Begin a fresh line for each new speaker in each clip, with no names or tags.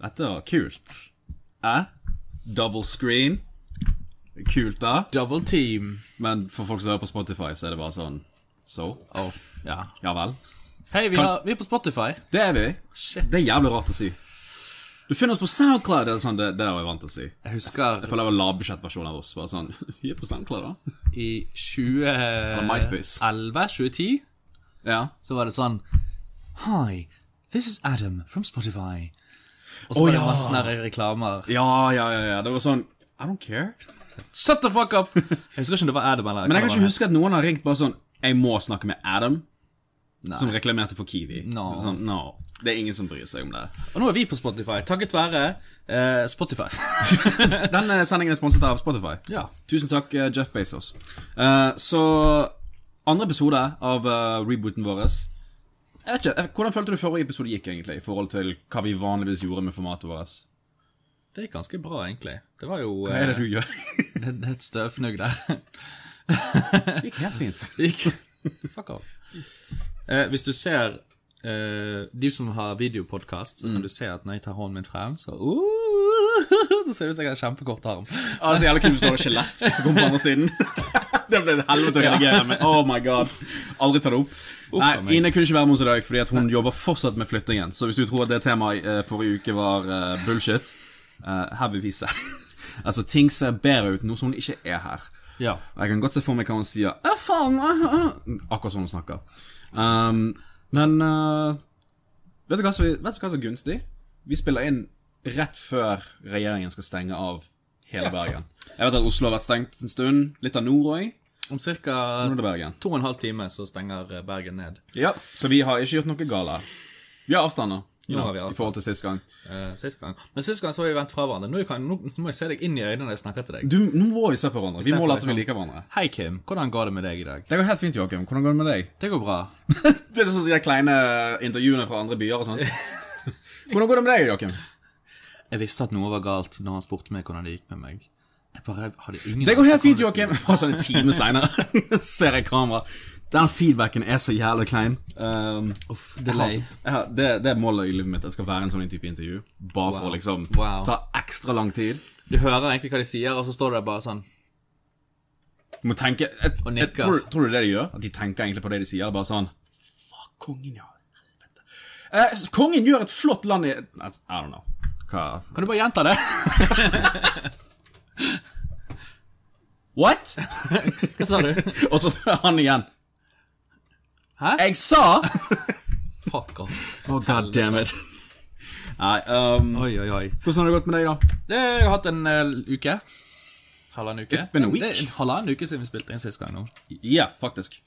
dette var kult. Eh? Double screen. Kult, da.
Double team.
Men for folk som hører på Spotify, så er det bare sånn So?
Oh, ja.
Ja vel.
Hei, vi, har, vi er på Spotify.
Det er vi.
Shit.
Det er jævlig rart å si. Du finner oss på SoundCloud, eller sånn, det, det er jeg vant til å si.
Jeg husker
Jeg føler det var lavbudsjettversjon av oss. Bare sånn, Vi er på SoundCloud, da.
i
MySpace.
2011-2010
Ja.
så var det sånn Hi, this is Adam from Spotify. Og
Å,
så var det
ja.
masse sånne reklamer.
ja, ja, ja, ja. Det var sånn I don't care.
Shut the fuck up! Jeg husker ikke om det var Adam eller
Men jeg
hva
kan
det
ikke
var.
huske at noen har ringt bare sånn Jeg må snakke med Adam. Som reklamerte for Kiwi.
No.
Det er Sånn, no. Det er ingen som bryr seg om det.
Og nå er vi på Spotify, takket være eh, Spotify.
Denne eh, sendingen er sponset av Spotify.
Ja.
Tusen takk, eh, Jeff Bezos. Eh, så andre episode av eh, rebooten vår. Jeg vet ikke, eh, Hvordan følte du forrige episode gikk, egentlig? I forhold til hva vi vanligvis gjorde med formatet vårt?
Det gikk ganske bra, egentlig. Det var jo
Hva er det
eh,
du gjør?
det, det er et støvfnugg der.
Det gikk helt fint.
Det gikk Fuck off. Eh, hvis du ser eh, De som har videopodkast, så kan du se at når jeg tar hånden min frem, så uh, Så ser det ut som jeg har kjempekort arm.
Ah, det er så jævlig kult hvis du har et skjelett som kommer på andre siden. det ble et helvete å redigere, men oh my god. Aldri ta det opp.
a
Nei,
meg.
Ine kunne ikke være med oss i dag fordi at hun jobber fortsatt med flyttingen. Så hvis du tror at det temaet eh, forrige uke var eh, bullshit, eh, her beviser Altså, ting ser bedre ut nå som hun ikke er her.
Ja.
Og Jeg kan godt se for meg hva hun sier. «Æ, faen, æ, æ», Akkurat sånn hun snakker. Um, men eh, vet, du hva som, vet du hva som er gunstig? Vi spiller inn rett før regjeringen skal stenge av hele Bergen. Jeg vet at Oslo har vært stengt en stund. Litt av nord òg.
Om ca.
Nå er det Bergen.
to og en halv time så stenger eh, Bergen ned.
Ja, så vi har ikke gjort noe galt. Vi har avstander.
Nå har vi
I forhold til sist gang.
eh, sist gang. Men sist gang så har vi vendt fra hverandre. Nå, kan, nå, nå må jeg se deg inn i øynene når jeg snakker til deg.
Du, nå må vi se på hverandre. Vi må
Istedenfor
late som vi
liksom-
liker hverandre.
Hei, Kim. Hvordan går det med deg i dag?
Det går helt fint, Joakim. Hvordan går det med deg?
Det går bra.
Du vet sånn som de kleine intervjuene fra andre byer og sånt. Hvordan går det med deg, Joakim?
Jeg visste at noe var galt når han spurte meg hvordan det gikk med meg. Jeg bare hadde ingen
Det går helt
anelse
fint,
hvordan det
Joakim. Bare sånn en time seinere ser jeg kamera. Den feedbacken er så jævlig klein. Um,
skulle- Delay.
jeg har, det, det er målet i livet mitt. Jeg skal være en sånn type intervju. Bare for å liksom
Wow.
ta ekstra lang tid.
Du hører egentlig hva de sier, og så står du der bare sånn
Du må tenke jeg,
Og
jeg,
nikker.
tror, tror du det de gjør? At de tenker egentlig på det de sier? Bare sånn Fuck, kongen, ja. helvete." Eh, kongen gjør et flott land i altså, I don't know. Hva
Kan du bare gjenta det?
What?!
Hva sa du?
og så han igjen.
Hæ?
Jeg sa
Fuck off.
Oh, God damn it. Nei, um,
Oi, oi, oi.
hvordan har det gått med deg, da?
Det, jeg har hatt en eh, uke. Halvannen uke.
It's been a
Men
week.
Det er halvannen uke siden vi spilte inn sist gang nå.
Ja, faktisk.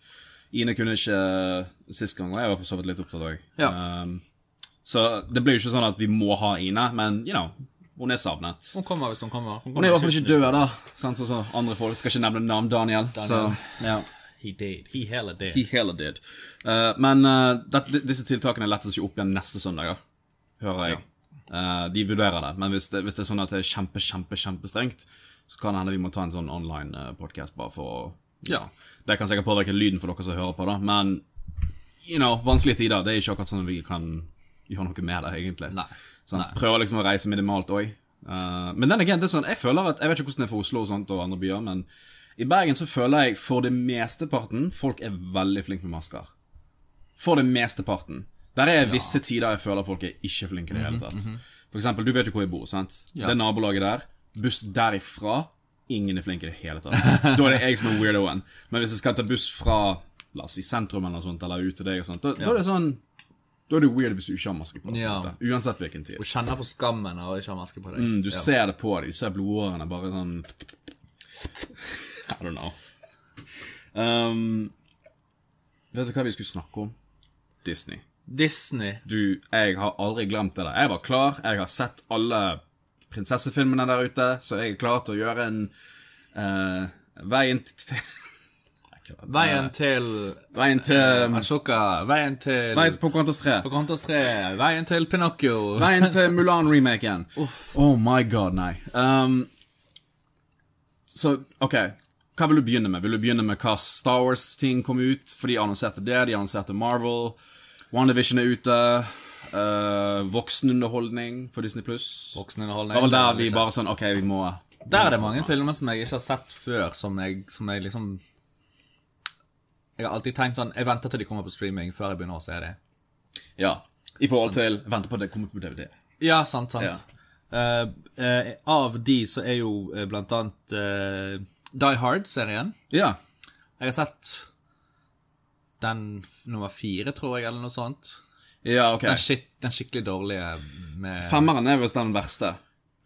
Ine kunne ikke eh, sist gang, og jeg var for så vidt litt opptatt òg.
Ja.
Um, så det blir jo ikke sånn at vi må ha Ine, men you know, hun er savnet.
Hun kommer hvis hun kommer.
Hun er i hvert fall ikke død, da. Sant, sånn som andre folk. Skal ikke nevne navn Daniel.
Daniel.
Så, ja.
He did. He heller did.
He heller did. Eh, men eh, det, disse tiltakene lettes jo opp igjen neste søndag, ja. hører jeg. Eh, de vurderer det, men hvis det, hvis det er sånn at det er kjempe, kjempe, kjempestrengt, så kan det hende vi må ta en sånn online eh, podcast bare for å
Ja.
Det kan sikkert påvirke lyden for dere som hører på, da, men you know, vanskelige tider. Det er ikke akkurat sånn at vi kan gjøre noe med det, egentlig.
Nei.
Sånn,
Nei.
Prøver liksom å reise minimalt òg. men den again, det er sånn, jeg føler at, jeg vet ikke hvordan det er for Oslo og sånt og andre byer, men i Bergen så føler jeg for det mesteparten folk er veldig flinke med masker. For det mesteparten. Der er visse tider jeg føler folk er ikke flinke i det hele tatt. For eksempel, du vet jo hvor jeg bor, sant? Det er nabolaget der. Buss derifra. Ingen er flinke i det hele tatt. Da er det jeg som er weirdoen. Men hvis jeg skal ta buss fra la oss si sentrum eller noe sånt, eller ut til deg og sånt, da, da er det sånn Da er det weird hvis du ikke har maske på. på en
Ja. Oh,
måte. Uansett hvilken tid.
Hun kjenner på skammen av å ikke ha maske på deg.
Mm, Du ser det på dem. Du ser blodårene bare sånn I don't know. Um, vet du hva vi skulle snakke om? Disney.
Disney.
Du, jeg har aldri glemt det der. Jeg var klar. Jeg har sett alle prinsessefilmene der ute, så jeg er klar til å gjøre en eh, Veien til
Veien til
Veien til
Ashoka. Veien til
Mm. Veien til Pocahontas 3.
Pocahontas 3. Veien til Pinocchio.
Veien til Mulan-remaken. Oh my god, nei. Um, så, ok. Hva vil du begynne med? Vil du begynne med hva Star Wars-ting kom ut? For de annonserte det, de annonserte Marvel. WandaVision er ute. eh, voksenunderholdning for Disney Pluss.
Voksenunderholdning.
Det var vel der de bare sånn Ok, vi må
Der er det mange filmer som jeg ikke har sett før, som jeg, som jeg liksom Jeg har alltid tenkt sånn Jeg venter til de kommer på streaming før jeg begynner å se dem.
Ja. I forhold til Vente på at det kommer på DVD.
Ja, sant, sant. Eh, eh, av de så er jo eh, blant annet eh, Die Hard-serien.
Ja.
Jeg har sett den f- nummer fire, tror jeg, eller noe sånt.
Ja, ok.
Den, skik den skikkelig dårlige med
Femmeren er visst den verste.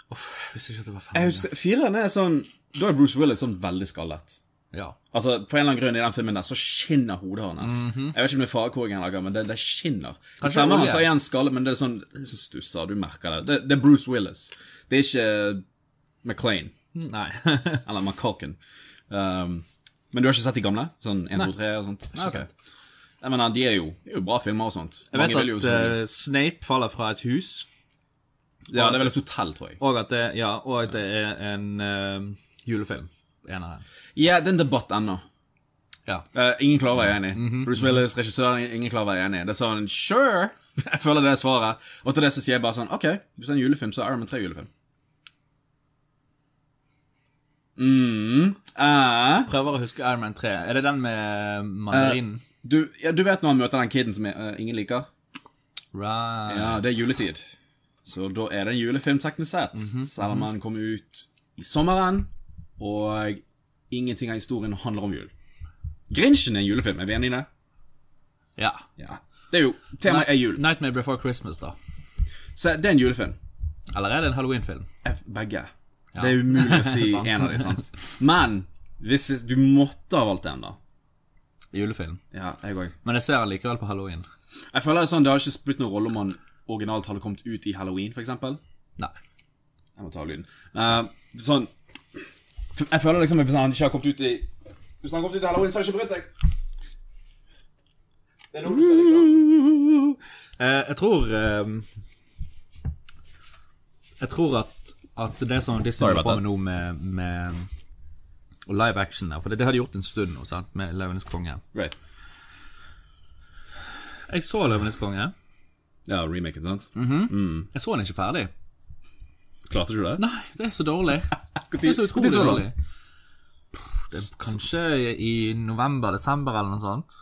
Uff, jeg visste ikke at det var
Jeg
fem.
husker, Fireren er sånn Da er Bruce Willis sånn veldig skallet.
Ja.
Altså, På en eller annen grunn i den filmen der så skinner hodet hans. Jeg vet ikke om det er farekoringen han lager, men Mhm. det, det skinner. I
Kanskje
Femmeren
olje?
så er han skallet, men det er sånn det er så stusser. Du merker det. det. Det er Bruce Willis. Det er ikke McLean.
Nei.
Eller McCulkin. Um, men du har ikke sett de gamle? Sånn 1, 2, 3 og sånt? Nei,
sett.
Jeg mener, de er jo, de er jo bra filmer og sånt.
Jeg vet
Mange vil jo
at eh,
selvfølgelig-
Snape faller fra et hus.
Ja, det er vel et hotell, tror jeg.
Og at det, ja, og at det er en eh, julefilm. Eneren.
Ja, det er en debatt ennå. Mhm.
Ja.
Eh, ingen klarer å være enig. Bruce Willis, regissøren, ingen klarer å være enig. Det sa han sure! Jeg føler det er svaret. Og til det så sier jeg bare sånn OK, hvis det er en julefilm, så er Iron Man 3 julefilm. Mm. eh,
Prøver å huske Iron Man 3. Er det den med eh, mandarinen?
du, ja, du vet når han møter den kiden som eh, ingen liker?
right.
Ja, det er juletid. Så da er det en julefilm teknisk sett. Selv om den kom ut i sommeren, og ingenting av historien handler om jul. Grinchen er en julefilm, er vi enige i det?
Ja.
Ja. Det er jo, Temaet er jul.
Nightmare Before Christmas, da.
Så det er en julefilm.
Eller er det en Halloween-film?
F- Begge. Det er umulig å si
Sant.
en av dem, sant? Men hvis du måtte ha valgt en, da
Julefilm.
Ja, jeg òg.
Men jeg ser den likevel på halloween.
Jeg føler det er sånn, det hadde ikke spilt noen rolle om han originalt hadde kommet ut i halloween, for eksempel.
Nei.
Jeg må ta av lyden. Eh, sånn Jeg føler liksom at hvis han ikke har kommet ut i Hvis han har kommet ut i halloween, så har han ikke brydd seg. Det er noe du skal liksom
Eh, jeg tror ehm, Jeg tror at, at det som Disney
Sorry
holder på
about
med nå med, med og live action der, for det, det har de gjort en stund nå, sant, med Løvenes konge.
Right.
Jeg så Løvenes konge.
Ja, remaken, sant?
Jeg så den ikke ferdig.
Klarte du det?
Nei, det er så dårlig.
Når
Det er så utrolig
så
dårlig.
den?
Det er kanskje i november-desember eller noe sånt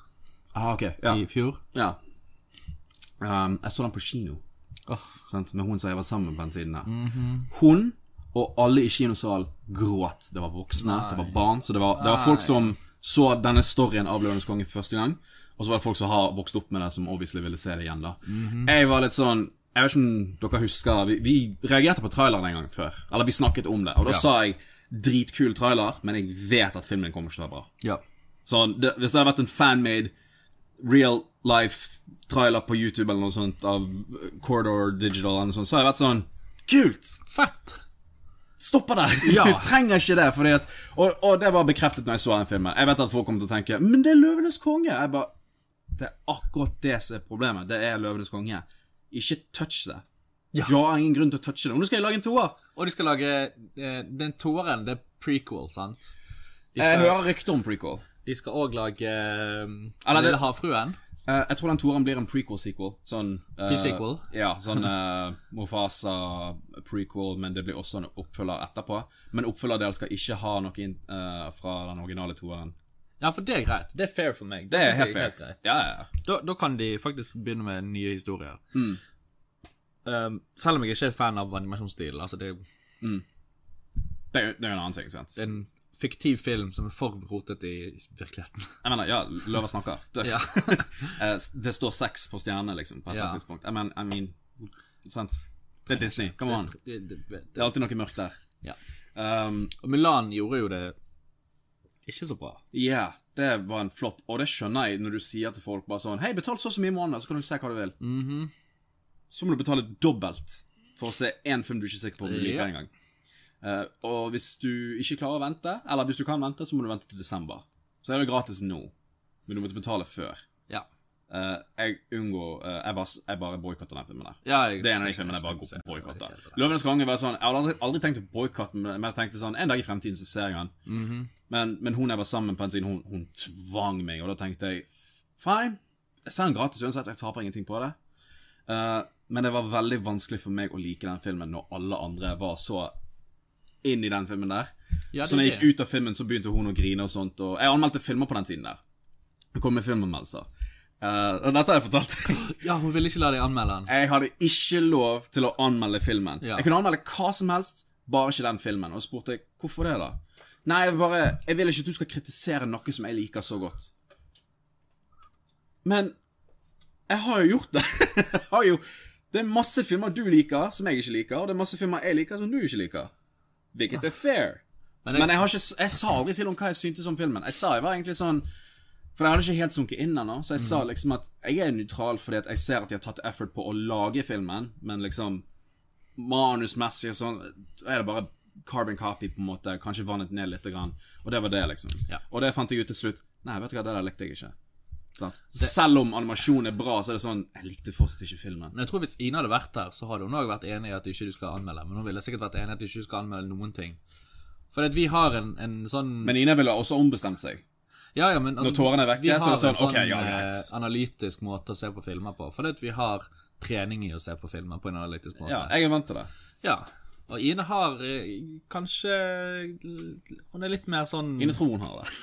Ah, ok. Ja.
i fjor.
ja. Um, jeg så den på kino.
Åh,
sant? med hun som jeg var sammen med på den tiden. der. Hun og alle i kinosalen gråt. Det var voksne, det var barn. Så det var, det var folk som så denne storyen av Løvenes konge for første gang. Og så var det folk som har vokst opp med det, som obviously ville se det igjen. da. Jeg var litt sånn Jeg vet ikke om dere husker Vi, vi reagerte på traileren en gang før. Eller vi snakket om det. Og da sa jeg dritkul trailer, men jeg vet at filmen kommer ikke til å være bra.
ja.
Sånn, det, hvis det hadde vært en fanmade real life trailer på YouTube eller noe sånt av eh, Corridor Digital eller noe sånt, så hadde jeg vært sånn Kult!
Fett!
Stopper der!
Ja.
Du trenger ikke det. Fordi at, og, og det var bekreftet når jeg så den filmen. Jeg vet at folk kommer til å tenke Men det er Løvenes konge! Jeg bare Det er akkurat det som er problemet. Det er Løvenes konge. Ikke touch det.
Ja.
Du har ingen grunn til å touche det. Og nå skal jeg lage en toer!
Og de skal lage eh, Den toeren, det er prequel, sant? De
Jeg
skal,
hører rykter om prequel.
de skal også lage eh,
Eller det-
Den lille havfruen.
Eh, jeg tror den toeren blir en prequel-sequel. Sånn eh,
Pre-sequel?
Ja, sånn eh, Mofasa-prequel, men det blir også en oppfølger etterpå. Men oppfølgerdelen skal ikke ha noe inn, eh, fra den originale toeren.
Ja, for det er greit. Det er fair for meg.
Det er
synes
helt
jeg er
fair. Ja, ja, ja.
Da, da kan de faktisk begynne med nye historier. Um, selv om jeg ikke er fan av animasjonsstilen. Altså, det er jo
Det er jo det er jo en annen ting, sant.
en fiktiv film som er for rotet i virkeligheten.
Jeg mener, ja, Løver snakker. Det,
Ja.
eh, det står seks på stjernene, liksom, på et eller
Ja.
annet tidspunkt. Jeg mener, I mean, sant. Det er Disney, come on.
Det, det, det,
Det er alltid noe mørkt der.
ja.
Um,
Og Mulan gjorde jo det ikke så bra.
Ja, det var en flopp, og det skjønner jeg når du sier til folk bare sånn Hei, betal så og så mye i måneden, så kan du se hva du vil. Så må du betale dobbelt for å se én film du ikke er sikker på om du liker
Ja.
engang. Eh, og hvis du ikke klarer å vente, eller hvis du kan vente, så må du vente til desember. Så er det gratis nå, men du måtte betale før.
Ja.
Eh, jeg unngår eh, Jeg bare, jeg bare boikotter den filmen der.
Ja, jeg-
det er en av de filmene jeg bare går på boikotter. Løvenes konge var sånn Jeg hadde aldri, aldri tenkt å boikotte den, men jeg tenkte sånn En dag i fremtiden så ser jeg den.
Mhm.
men, men hun jeg var sammen på den tiden, hun, hun tvang meg, og da tenkte jeg Fine, jeg ser den gratis uansett, jeg taper ingenting på det. Eh, men det var veldig vanskelig for meg å like den filmen når alle andre var så inn i den filmen der.
Ja, det
så når jeg
er
gikk ut av filmen, så begynte hun å grine og sånt. Og jeg anmeldte filmer på den tiden der. Det kom med filmanmeldelser. Eh, og dette har jeg fortalt.
Ja, hun ville ikke la deg anmelde den.
Jeg hadde ikke lov til å anmelde filmen.
Ja.
Jeg kunne anmelde hva som helst, bare ikke den filmen. Og så spurte jeg hvorfor det, da. Nei, jeg bare Jeg vil ikke at du skal kritisere noe som jeg liker så godt. Men jeg har jo gjort det. jeg har jo Det er masse filmer du liker som jeg ikke liker, og det er masse filmer jeg liker som du ikke liker. Hvilket er fair.
Men
Men
jeg-
jeg, har ikke, s- jeg sa aldri til om hva jeg syntes om filmen. Jeg sa jeg var egentlig sånn For jeg hadde ikke helt sunket inn ennå, så jeg sa liksom at jeg er nøytral fordi at jeg ser at de har tatt effort på å lage filmen, men liksom manusmessig og sånn er det bare carbon copy, på en måte. Kanskje vannet ned litt. Grann. Og det var det, liksom.
Ja.
Og det fant jeg ut til slutt. Nei, vet du hva, det der likte jeg ikke. Sant? Selv om animasjon er bra, så er det sånn Jeg likte fortsatt ikke filmen.
Men jeg tror Hvis Ine hadde vært her, så hadde hun også vært enig i at du ikke skal anmelde. Men hun ville sikkert vært enig i at du ikke skal anmelde noen ting. For at vi har en, en sånn
Men Ine ville også ombestemt seg.
Ja, ja, men altså,
Når tårene er vekke,
vi har
så er det sånn,
en sånn
ok, ja, greit.
eh, analytisk måte å se på filmer på. Fordi at vi har trening i å se på filmer på en analytisk måte.
Ja, jeg er vant til det.
Ja. Og Ine har eh, kanskje Hun er litt mer sånn
Ine tror hun har det.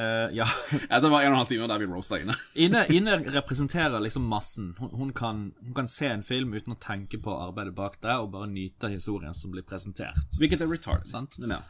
Eh, ja.
Dette var en og en halv time der vi roasta Ine.
Ine, Ine representerer liksom massen. Hun, hun, kan, hun kan se en film uten å tenke på arbeidet bak det, og bare nyte historien som blir presentert.
Hvilket er retarded.
Sant.
Men ja.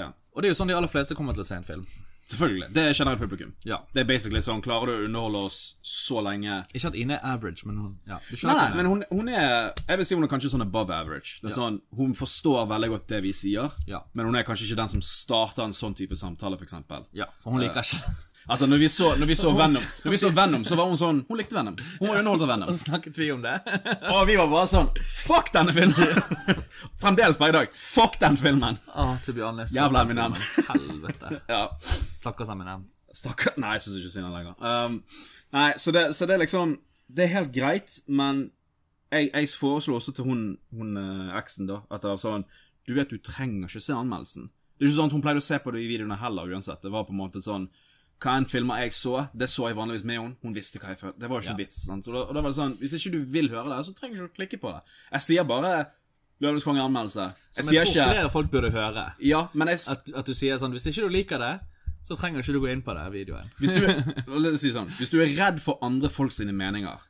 ja.
Og det er jo sånn de aller fleste kommer til å se en film.
Selvfølgelig. Det kjenner jeg publikum.
Ja.
Det er basically sånn Klarer du å underholde oss så lenge
Ikke at Ine er average, men hun ja, du
Nei,
skjønner
nei,
hva jeg
men hun, hun er Jeg vil si hun er kanskje sånn above average. Det er sånn, Hun forstår veldig godt det vi sier,
Ja.
men hun er kanskje ikke den som starter en sånn type samtale, f.eks.
mener. Ja, for hun liker ikke
Altså, når vi, så, når, vi så Venom, når vi så Venom, så var hun sånn Hun likte Venom. Hun var underholdt av Venom.
Snakket vi om det?
Og vi var bare sånn Fuck denne filmen! Fremdeles bare i dag. Fuck den filmen!
Å, Ah, to be honest.
Jævla Eminem.
Helvete.
Ja.
Stakkars Eminem.
Stakkar. Nei, jeg syns ikke synd på lenger. Um, nei, så det, så det er liksom Det er helt greit, men jeg, jeg foreslo også til hun, hun eh, eksen, da, at jeg sa sånn Du vet, du trenger ikke se anmeldelsen. Det er ikke sånn at Hun pleide å se på det i videoene heller, uansett. Det var på en måte sånn Hva enn filmer jeg så, det så jeg vanligvis med henne. Hun visste hva jeg følte. Det var jo ikke en vits. sant? Og da, og da var det sånn Hvis ikke du vil høre det, så trenger ikke du klikke på det. Jeg sier bare Løvenes konge-anmeldelse. Jeg
Som jeg
sier
tror
ikke
flere folk burde høre.
Ja, men jeg s-
At, at du sier sånn Hvis ikke du liker det, så trenger ikke du gå inn på det videoen.
Hvis du, la oss si sånn, hvis du er redd for andre folk sine meninger,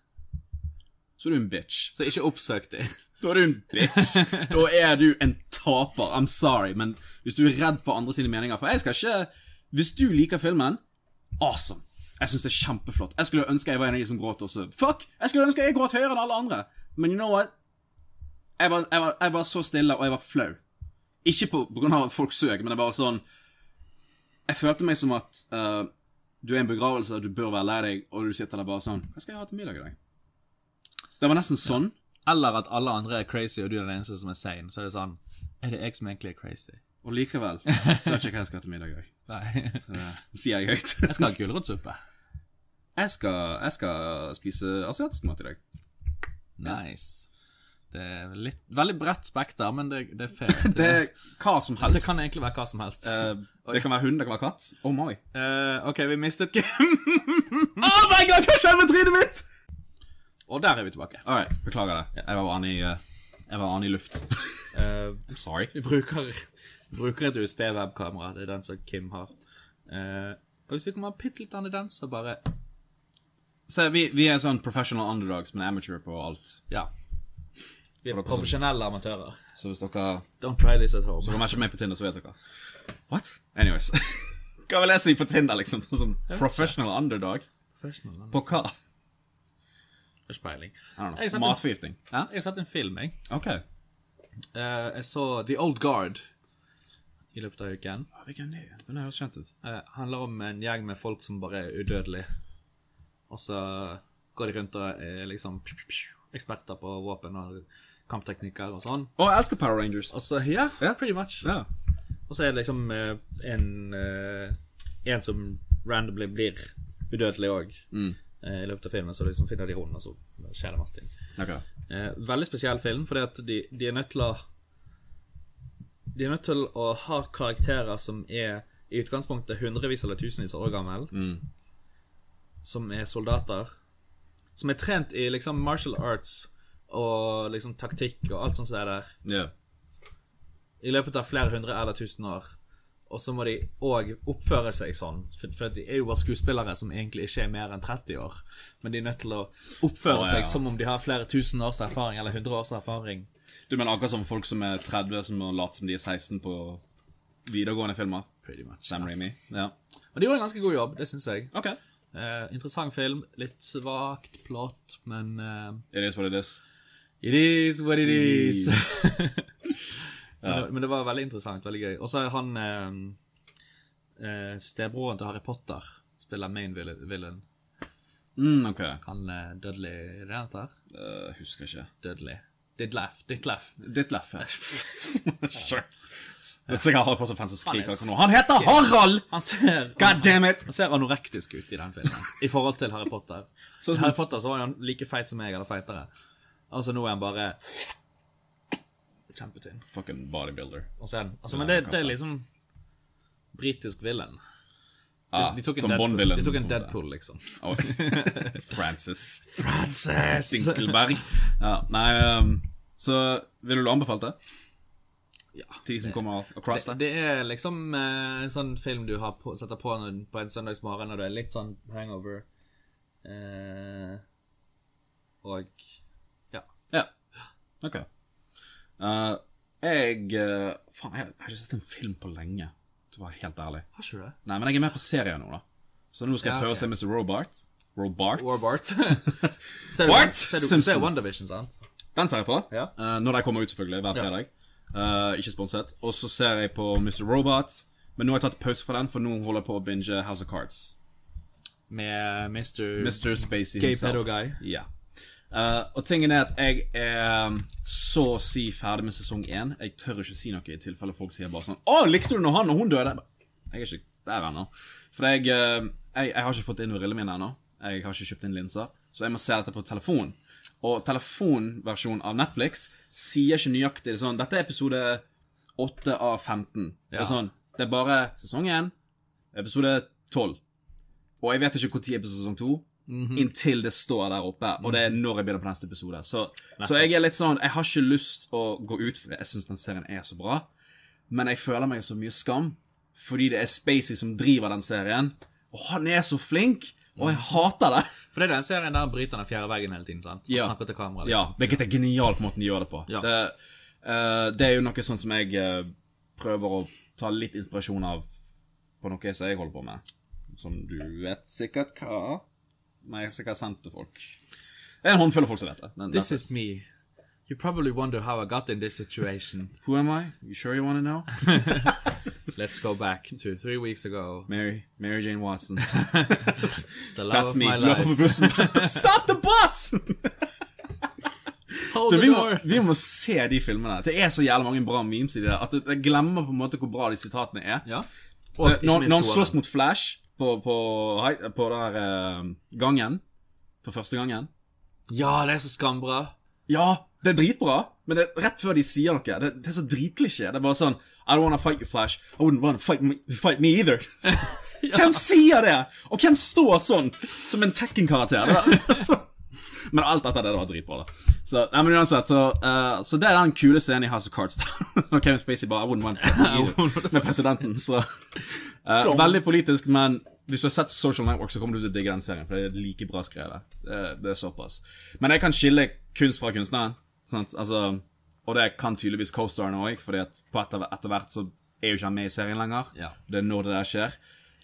så er du en bitch.
Så ikke oppsøk de.
Da er du en bitch. Da er du en taper. I'm sorry, men hvis du er redd for andre sine meninger For jeg skal ikke Hvis du liker filmen, awesome. Jeg syns det er kjempeflott. Jeg skulle ønske jeg var en av de som gråt også. Fuck! Jeg skulle ønske jeg gråt høyere enn alle andre. Men you know what? Jeg var, jeg var, jeg var så stille, og jeg var flau. Ikke på, på grunn av at folk søk, men det var sånn Jeg følte meg som at eh, du er i en begravelse, du bør være lei deg, og du sitter der bare sånn Hva skal jeg ha til middag i dag? Det var nesten sånn.
Eller at alle andre er crazy, og du er den eneste som er sane. Så er det sånn Er det jeg som egentlig er crazy?
Og likevel så vet jeg ikke hva jeg skal ha til middag i dag.
Nei. Jeg
Det sier jeg høyt. Jeg
skal ha gulrotsuppe.
jeg skal, spise asiatisk mat i dag.
Nice. Det er litt, veldig bredt spekter, men det, det er fair. Det,
Det er hva som helst.
det kan egentlig være hva som helst.
Eh, det kan være hund, det kan være katt. Oh my.
Mm.
eh, ok, vi mistet Kim.
Oh my god, hva skjer med trynet mitt?!
Og der er vi tilbake.
Alright, beklager det. Jeg var annen i, eh, jeg var annen i luft.
Eh,
I'm sorry.
Vi bruker, bruker et USB-webkamera. Det er den som Kim har. Eh, og hvis vi kommer bitte litt annerledes, så bare
Så vi, vi er sånn professional underdogs, men amateur på alt.
Ja.
Vi er profesjonelle amatører.
Så hvis dere
Don't try this at home.
Dere matcher meg på Tinder, så vet dere. What? Anyways. Hva vil jeg si på Tinder, liksom? Sånn professional underdog?
Professional,
På hva?
Ikke peiling.
I don't
Jeg
know.
satt-
Matforgiftning? Ja?
Jeg har sett en film, jeg.
Ok.
Eh, jeg så The Old Guard i løpet av uken.
Hvilken er det? Den høres kjent ut.
Eh, handler om en gjeng med folk som bare er udødelige. Og så går de rundt og er liksom pju, pju, pju, eksperter på våpen og kampteknikker og sånn.
Å, jeg elsker Power Rangers.
Og så, ja,
Ja.
pretty much.
Ja.
Og så er det liksom eh, en, eh, en som randomly blir udødelig òg. I løpet av filmen så liksom finner de hunden, og så skjer det masse ting.
Ok.
Eh, veldig spesiell film, fordi at de, de er nødt til å De er nødt til å ha karakterer som er i utgangspunktet hundrevis eller tusenvis av år gammel, som er soldater, som er trent i liksom martial arts og liksom taktikk og alt sånt som er der,
Ja.
i løpet av flere hundre eller tusen år. Og så må de òg oppføre seg sånn, for, for de er jo bare skuespillere som egentlig ikke er mer enn 30 år. Men de er nødt til å oppføre
Å, ja.
seg som om de har flere tusen års erfaring eller 100 års erfaring.
Du mener akkurat som folk som er 30 som må late som de er 16 på videregående filmer?
Pretty much.
Sam Raimi. Ja.
Og de gjorde en ganske god jobb, det syns jeg.
Ok.
Eh, interessant film. Litt svakt plott, men eh,
It is what it is.
It is what it is. men, det, men det var veldig interessant. Veldig gøy. Og så er han eh, eh, Stebroren til Harry Potter spiller main villain. villain.
Mm, ok.
Han eh, Dudley er det han heter?
Eh, husker ikke.
Dudley. Didlaff. Ditlaff.
Ditt leff. sure. Det er sikkert Harry Potter-fans som skriker
Han er
akkurat nå. Han heter Harald!
Han ser
God damn it!
Han ser anorektisk ut i den filmen i forhold til Harry Potter.
Så som-
Harry Potter så var jo han like feit som meg, eller feitere. Altså, nå er han bare kjempetynn.
Fucking bodybuilder.
Og så er han Altså, men det, det er liksom britisk villain.
Ah,
De tok en,
som
Deadpool,
Bond-villain,
de tok
på
en
en måte.
Deadpool, liksom.
Oh, Francis.
Frances!
Dinkelberg. Ja, nei, um, så ville du anbefalt det?
Ja.
Til de som kommer across
Det,
det?
det er liksom eh, en sånn film du har på, setter på når, på en søndagsmorgen når du er litt sånn hangover. Eh, og ja.
Ja. Ok. Eh, jeg eh, Faen, jeg har jeg har ikke sett en film på lenge. Til å være helt ærlig.
Har ikke du det?
Nei, men jeg er med på serier nå, da. Så nå skal jeg
Ja,
prøve å
ok.
se Mr. Robart. Robart.
War Bart. ser du,
Bart
Ser du, ser
Simpson.
du WandaVision, sant?
Den ser jeg på.
Ja.
Eh, når de kommer ut, selvfølgelig. Hver fredag. Eh, ikke sponset. Og så ser jeg på Mr. Robot. Men nå har jeg tatt pause fra den, for nå holder jeg på å binge House of Cards.
Med Mr.
Mr. Spacey
Gay
himself.
pedo guy.
Ja. Eh, og tingen er at jeg er så å si ferdig med sesong én. Jeg tør ikke si noe i tilfelle folk sier bare sånn 'Å, likte du når han og hun døde?' Jeg bare, Jeg er ikke der ennå. For jeg, eh, jeg, jeg har ikke fått inn brillene mine ennå. Jeg har ikke kjøpt inn linser. Så jeg må se dette på telefon. Og telefonversjonen av Netflix sier ikke nøyaktig det er sånn 'Dette er episode 8 av 15'. Det er sånn Det er bare sesong én, episode 12. Og jeg vet ikke når på sesong to, inntil det står der oppe. Og det er når jeg begynner på neste episode. Så, så jeg er litt sånn Jeg har ikke lyst å gå ut, for jeg syns den serien er så bra. Men jeg føler meg så mye skam, fordi det er Spacey som driver den serien. Og han er så flink! Og jeg hater det!
For det er den serien der han bryter den fjerde veggen hele tiden, sant? Og
Ja.
snakker til kamera,
Ja,
liksom.
Hvilket er genialt måten de gjør det på.
Ja.
Det, eh, det er jo noe sånn som jeg eh, prøver å ta litt inspirasjon av på noe som jeg holder på med. Som du vet sikkert hva Men jeg har sikkert sendt til folk. Det er en håndfull av folk som vet det. Men
This
that's
is me. You probably wonder how I got in this situation.
it. Who am I? You sure you wanna know?
Let's go back to three weeks ago.
Mary, Mary Jane Watson.
The love
That's
of
me.
my
Løper
life.
på bussen. Stop the bus!
Hold
Du,
the
vi, må,
door.
vi må se de filmene. Det er så jævla mange bra memes i det. der, At jeg glemmer på en måte hvor bra de sitatene er.
Ja.
Eh,
Og
når, når han
toeren.
slåss mot Flash på, på, hei- på den der eh, gangen For første gangen
Ja, det er så skambra.
Ja, det er dritbra Men det er rett før de sier noe Det, det er så dritklisjé Det er bare sånn I don't wanna fight you Flash I wouldn't wanna fight me, fight me either Hvem sier det? Og hvem står sånn Som en Tekken-karakter Det er så- Men alt dette der, det var dritbra da Så, nei, men uansett Så, eh, så det er den kule scenen i House of Cards da. Og Kevin Spacey bare I wouldn't wanna fight me either Med presidenten Så Eh, veldig politisk, men hvis du har sett Social Network, så kommer du til å digge den serien. For det er like bra skrevet. Det, det er såpass. Men jeg kan skille kunst fra kunstneren. Sant? Altså, og det kan tydeligvis co-starene òg, for etter, etter hvert så er jo ikke han med i serien lenger.
Ja.
Det er når det der skjer.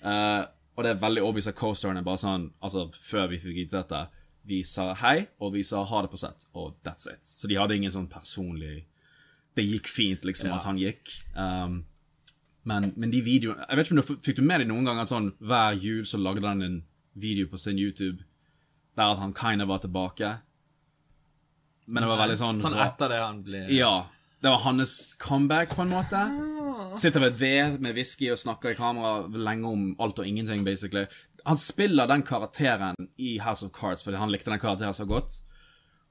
Eh, og det er veldig obvious at co-starene bare sånn Altså, før vi fikk vite dette, vi sa hei, og vi sa ha det på sett, og that's it. Så de hadde ingen sånn personlig Det gikk fint, liksom, at han gikk. Um, men, men de videoene Jeg vet ikke om du fikk du med deg noen gang at sånn hver jul så lagde han en video på sin YouTube der at han kind of var tilbake. Men det var veldig sånn
Sånn
ra-
etter det han blir
Ja. Det var hans comeback, på en måte. Sitter ved et ved med whisky og snakker i kamera lenge om alt og ingenting, basically. Han spiller den karakteren i House of Cards fordi han likte den karakteren så godt.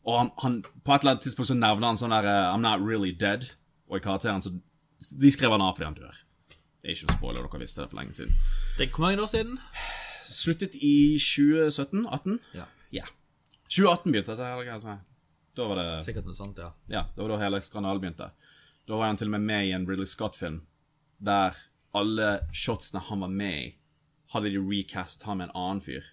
Og han, han, på et eller annet tidspunkt så nevner han sånn der eh, I'm not really dead. Og i karakteren så De skrev han av fordi han dør. Det er ikke noe spoiler, dere visste det for lenge siden.
Det er hvor mange år siden?
Sluttet i 2017-18?
Ja.
Ja. 2018 begynte dette. her, kan jeg si. Da var det
Sikkert noe sånt, ja.
Ja, det var da hele skandalen begynte. Da var han til og med med i en Ridley Scott-film der alle shotsene han var med i, hadde de recast han med en annen fyr.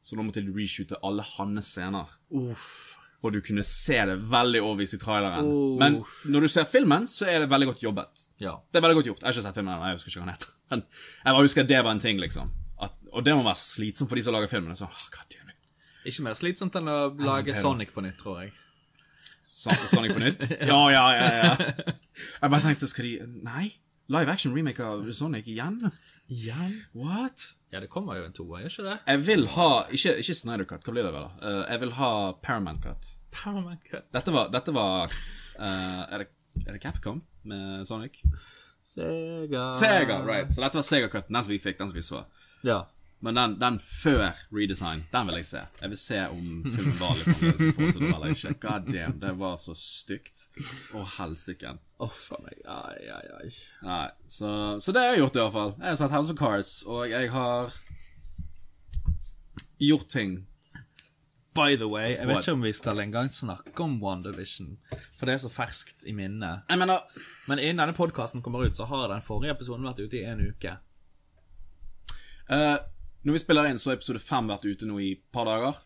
Så da måtte de reshoote alle hans scener.
Uff.
Og du kunne se det veldig overvis i traileren. Men når du ser filmen, så er det veldig godt jobbet.
Ja.
Det er veldig godt gjort. Jeg har ikke sett filmen, ennå, jeg husker ikke hva den heter. Men jeg bare husker at det var en ting, liksom. At, og det må være slitsomt for de som lager filmen. Sånn, oh, God damn it.
Ikke mer slitsomt enn å lage Sonic på nytt, tror jeg.
Son- Sonic på nytt? Ja, ja, ja. ja. Jeg bare tenkte, skal de Nei? Live action remake av Sonic igjen? What?
Ja, det kommer jo en toer, gjør ikke det?
Jeg vil ha Ikke, ikke Snyder Cut, hva blir det vel? da? Eh, jeg vil ha Paramount Cut.
Paramount Cut.
Dette var, dette var eh, er, det, er det Capcom med Sonic?
Sega.
Sega, right. Så dette var Sega-cutten, den som vi fikk, den som vi så.
Ja.
Men den, den før redesign, den vil jeg se. Jeg vil se om filmen var litt annerledes i forhold til det eller ikke. God damn, det var så stygt. Å, helsike.
Å, faen meg. Ai, ai, ai.
Nei, så, så det har jeg gjort i hvert fall. Jeg har sett House of Cards, og jeg har gjort ting.
By the way, jeg vet
What?
ikke om vi skal engang snakke om WandaVision, for det er så ferskt i minnet.
Jeg mener,
Men innen denne podkasten kommer ut, så har den forrige episoden vært ute i en uke.
eh, når vi spiller inn, så har episode fem vært ute nå i et par dager.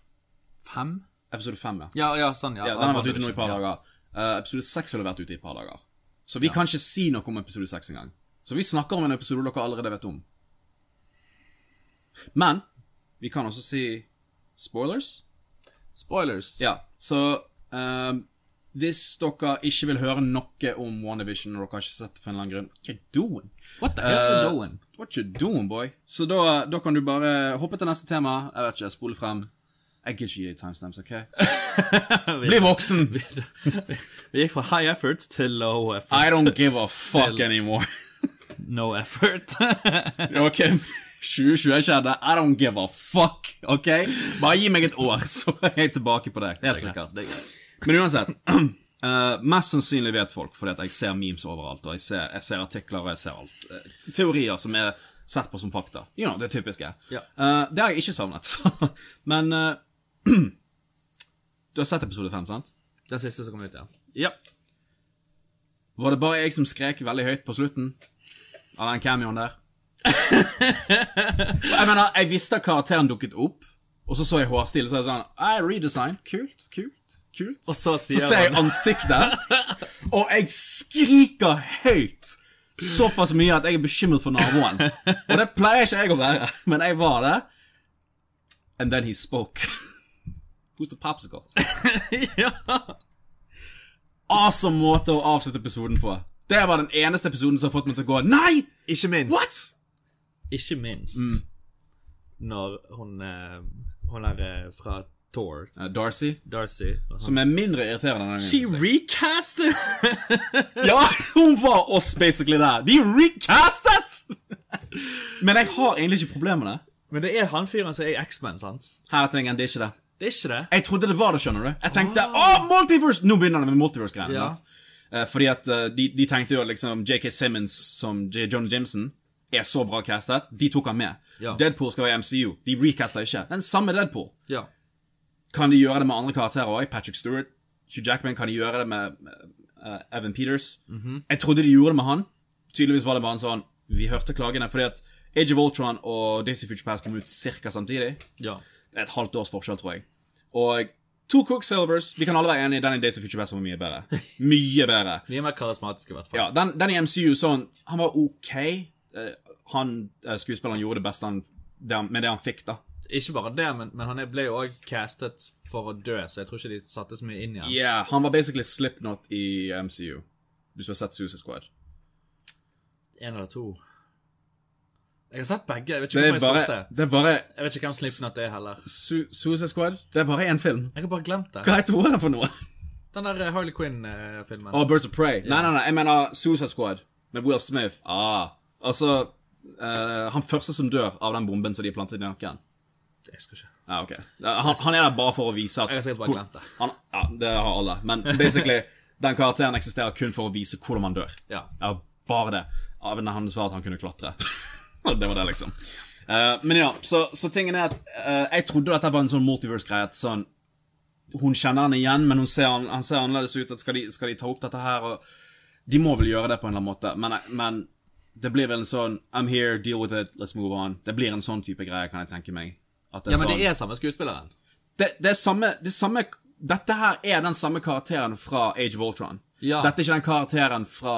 Fem?
Episode fem, ja.
Ja, ja, sånn, ja.
ja den har vært ute nå i et par dager. Eh, episode seks ville vært ute i et par dager. Så vi kan ikke si noe om episode seks engang. Så vi snakker om en episode dere allerede vet om. Men vi kan også si spoilers.
Spoilers.
Ja, så ehm, hvis dere ikke vil høre noe om WandaVision og dere har ikke sett det for en eller annen grunn What you doing?
What the hell
Eh,
are you doing?
What you doing, boy? Så da, da kan du bare hoppe til neste tema. Jeg vet ikke, spole frem. Jeg gidder ikke gi timestamps, OK? Bli voksen!
Vi gikk fra high effort til low effort.
I don't give a fuck anymore.
No effort.
OK, 2020 skjedde. I don't give a fuck. OK? Bare gi meg et år, så er jeg tilbake på det. Helt sikkert. Det er greit. Men uansett. eh, mest sannsynlig vet folk, fordi at jeg ser memes overalt. Og jeg ser, jeg ser artikler, og jeg ser alt. Eh, teorier som er sett på som fakta. You know, det typiske.
Ja.
Eh, det har jeg ikke savnet. Så. Men eh, Du har sett episode fem, sant?
Den siste som kom ut, ja.
ja.
Var det bare jeg som skrek veldig høyt på slutten? Av den cameoen der? jeg mener, jeg visste at karakteren dukket opp, og så så jeg hårstilen, så er jeg sånn «Ei, Redesign. Kult, kult, kult.
Og så
Så
sier
ser jeg
han
ansiktet, og jeg skriker høyt såpass mye at jeg er bekymret for naboen. Og det pleier ikke jeg å være, men jeg var det. And then he spoke. Who's the popsicle?
ja.
Awesome måte å avslutte episoden på. Det var den eneste episoden som har fått meg til å gå Nei!
Ikke minst.
What?!
Ikke minst. Når hun eh, Hun er eh, fra Tor,
Eh, Darcy,
Darcy og sånn.
som er mindre irriterende enn
She
den gangen.
recasted!
Ja, hun var oss basically der. De recastet! Men jeg har egentlig ikke problemer med det.
Men det er han fyren som er i X-Men, sant?
Her er tingen, det er ikke det.
Det er ikke det?
Jeg trodde det var det, skjønner du. Jeg tenkte åh, multiverse! Nå begynner det med multiverse-greiene.
Ja.
sant? Eh, Fordi at eh, de, de tenkte jo at liksom JK Simmons som J. John Jameson er så bra castet. De tok han med.
Ja.
Deadpool skal være i MCU. De recasta ikke. Den samme Deadpool.
Ja.
Kan de gjøre det med andre karakterer òg? Patrick Stewart, Hugh Jackman, kan de gjøre det med eh, Evan Peters? Jeg trodde de gjorde det med han. Tydeligvis var det bare en sånn Vi hørte klagene. Fordi at Age of Ultron og Daisy Future Past kom ut ca. samtidig.
Ja.
Det er et halvt års forskjell, tror jeg. Og to Quicksilvers Vi kan alle være enige den i Days of Future Past var mye bedre. Mye bedre.
Vi er mer karismatiske, i hvert fall.
Ja, den, den i MCU sånn Han var OK. Eh, Han, eh, Skuespilleren gjorde det beste han, det han, med det han fikk, da.
Ikke bare det, men, men han er- ble jo også castet for å dø, så jeg tror ikke de satte så mye inn i han.
Yeah, Han var basically Slipknot i MCU. Hvis du har sett Suicide Squad.
En eller to. Jeg har sett begge. Jeg vet
Det
ikke
er
hvorfor jeg
bare,
spurte.
det er bare
Jeg vet ikke hvem Slipknot er heller.
Su Suicide Squad Det er bare én film.
Jeg har bare glemt det.
Hva heter ordet for noe?
Den der eh, Harley Quinn-filmen.
Oh, Birds of Prey. Nei, nei, nei, jeg mener Suicide Squad med Will Smith. Ah, altså eh, Han første som dør av den bomben som de plantet i nakken.
Jeg skal ikke.
Ja, ok. Han, han er der bare for å vise at
Jeg har sikkert bare glemt det.
Han, ja, det har alle. Men basically, den karakteren eksisterer kun for å vise hvordan man dør.
Ja.
Ja, bare det. Ja, men han svarte at han kunne klatre. Og det var det, liksom. Eh, men ja, så, så tingen er at eh, jeg trodde dette var en sånn multiverse-greie. at Sånn, hun kjenner han igjen, men hun ser, han- han ser annerledes ut. At skal, de, skal de ta opp dette her? Og de må vel gjøre det på en eller annen måte, men, men det blir vel en sånn I'm here, deal with it, let's move on. Det blir en sånn type greie, kan jeg tenke meg. At det
Ja,
er
men
sånn,
det er samme skuespilleren.
det, det er samme, det samme Dette her er den samme karakteren fra Age of Ultron.
Ja.
Dette er ikke den karakteren fra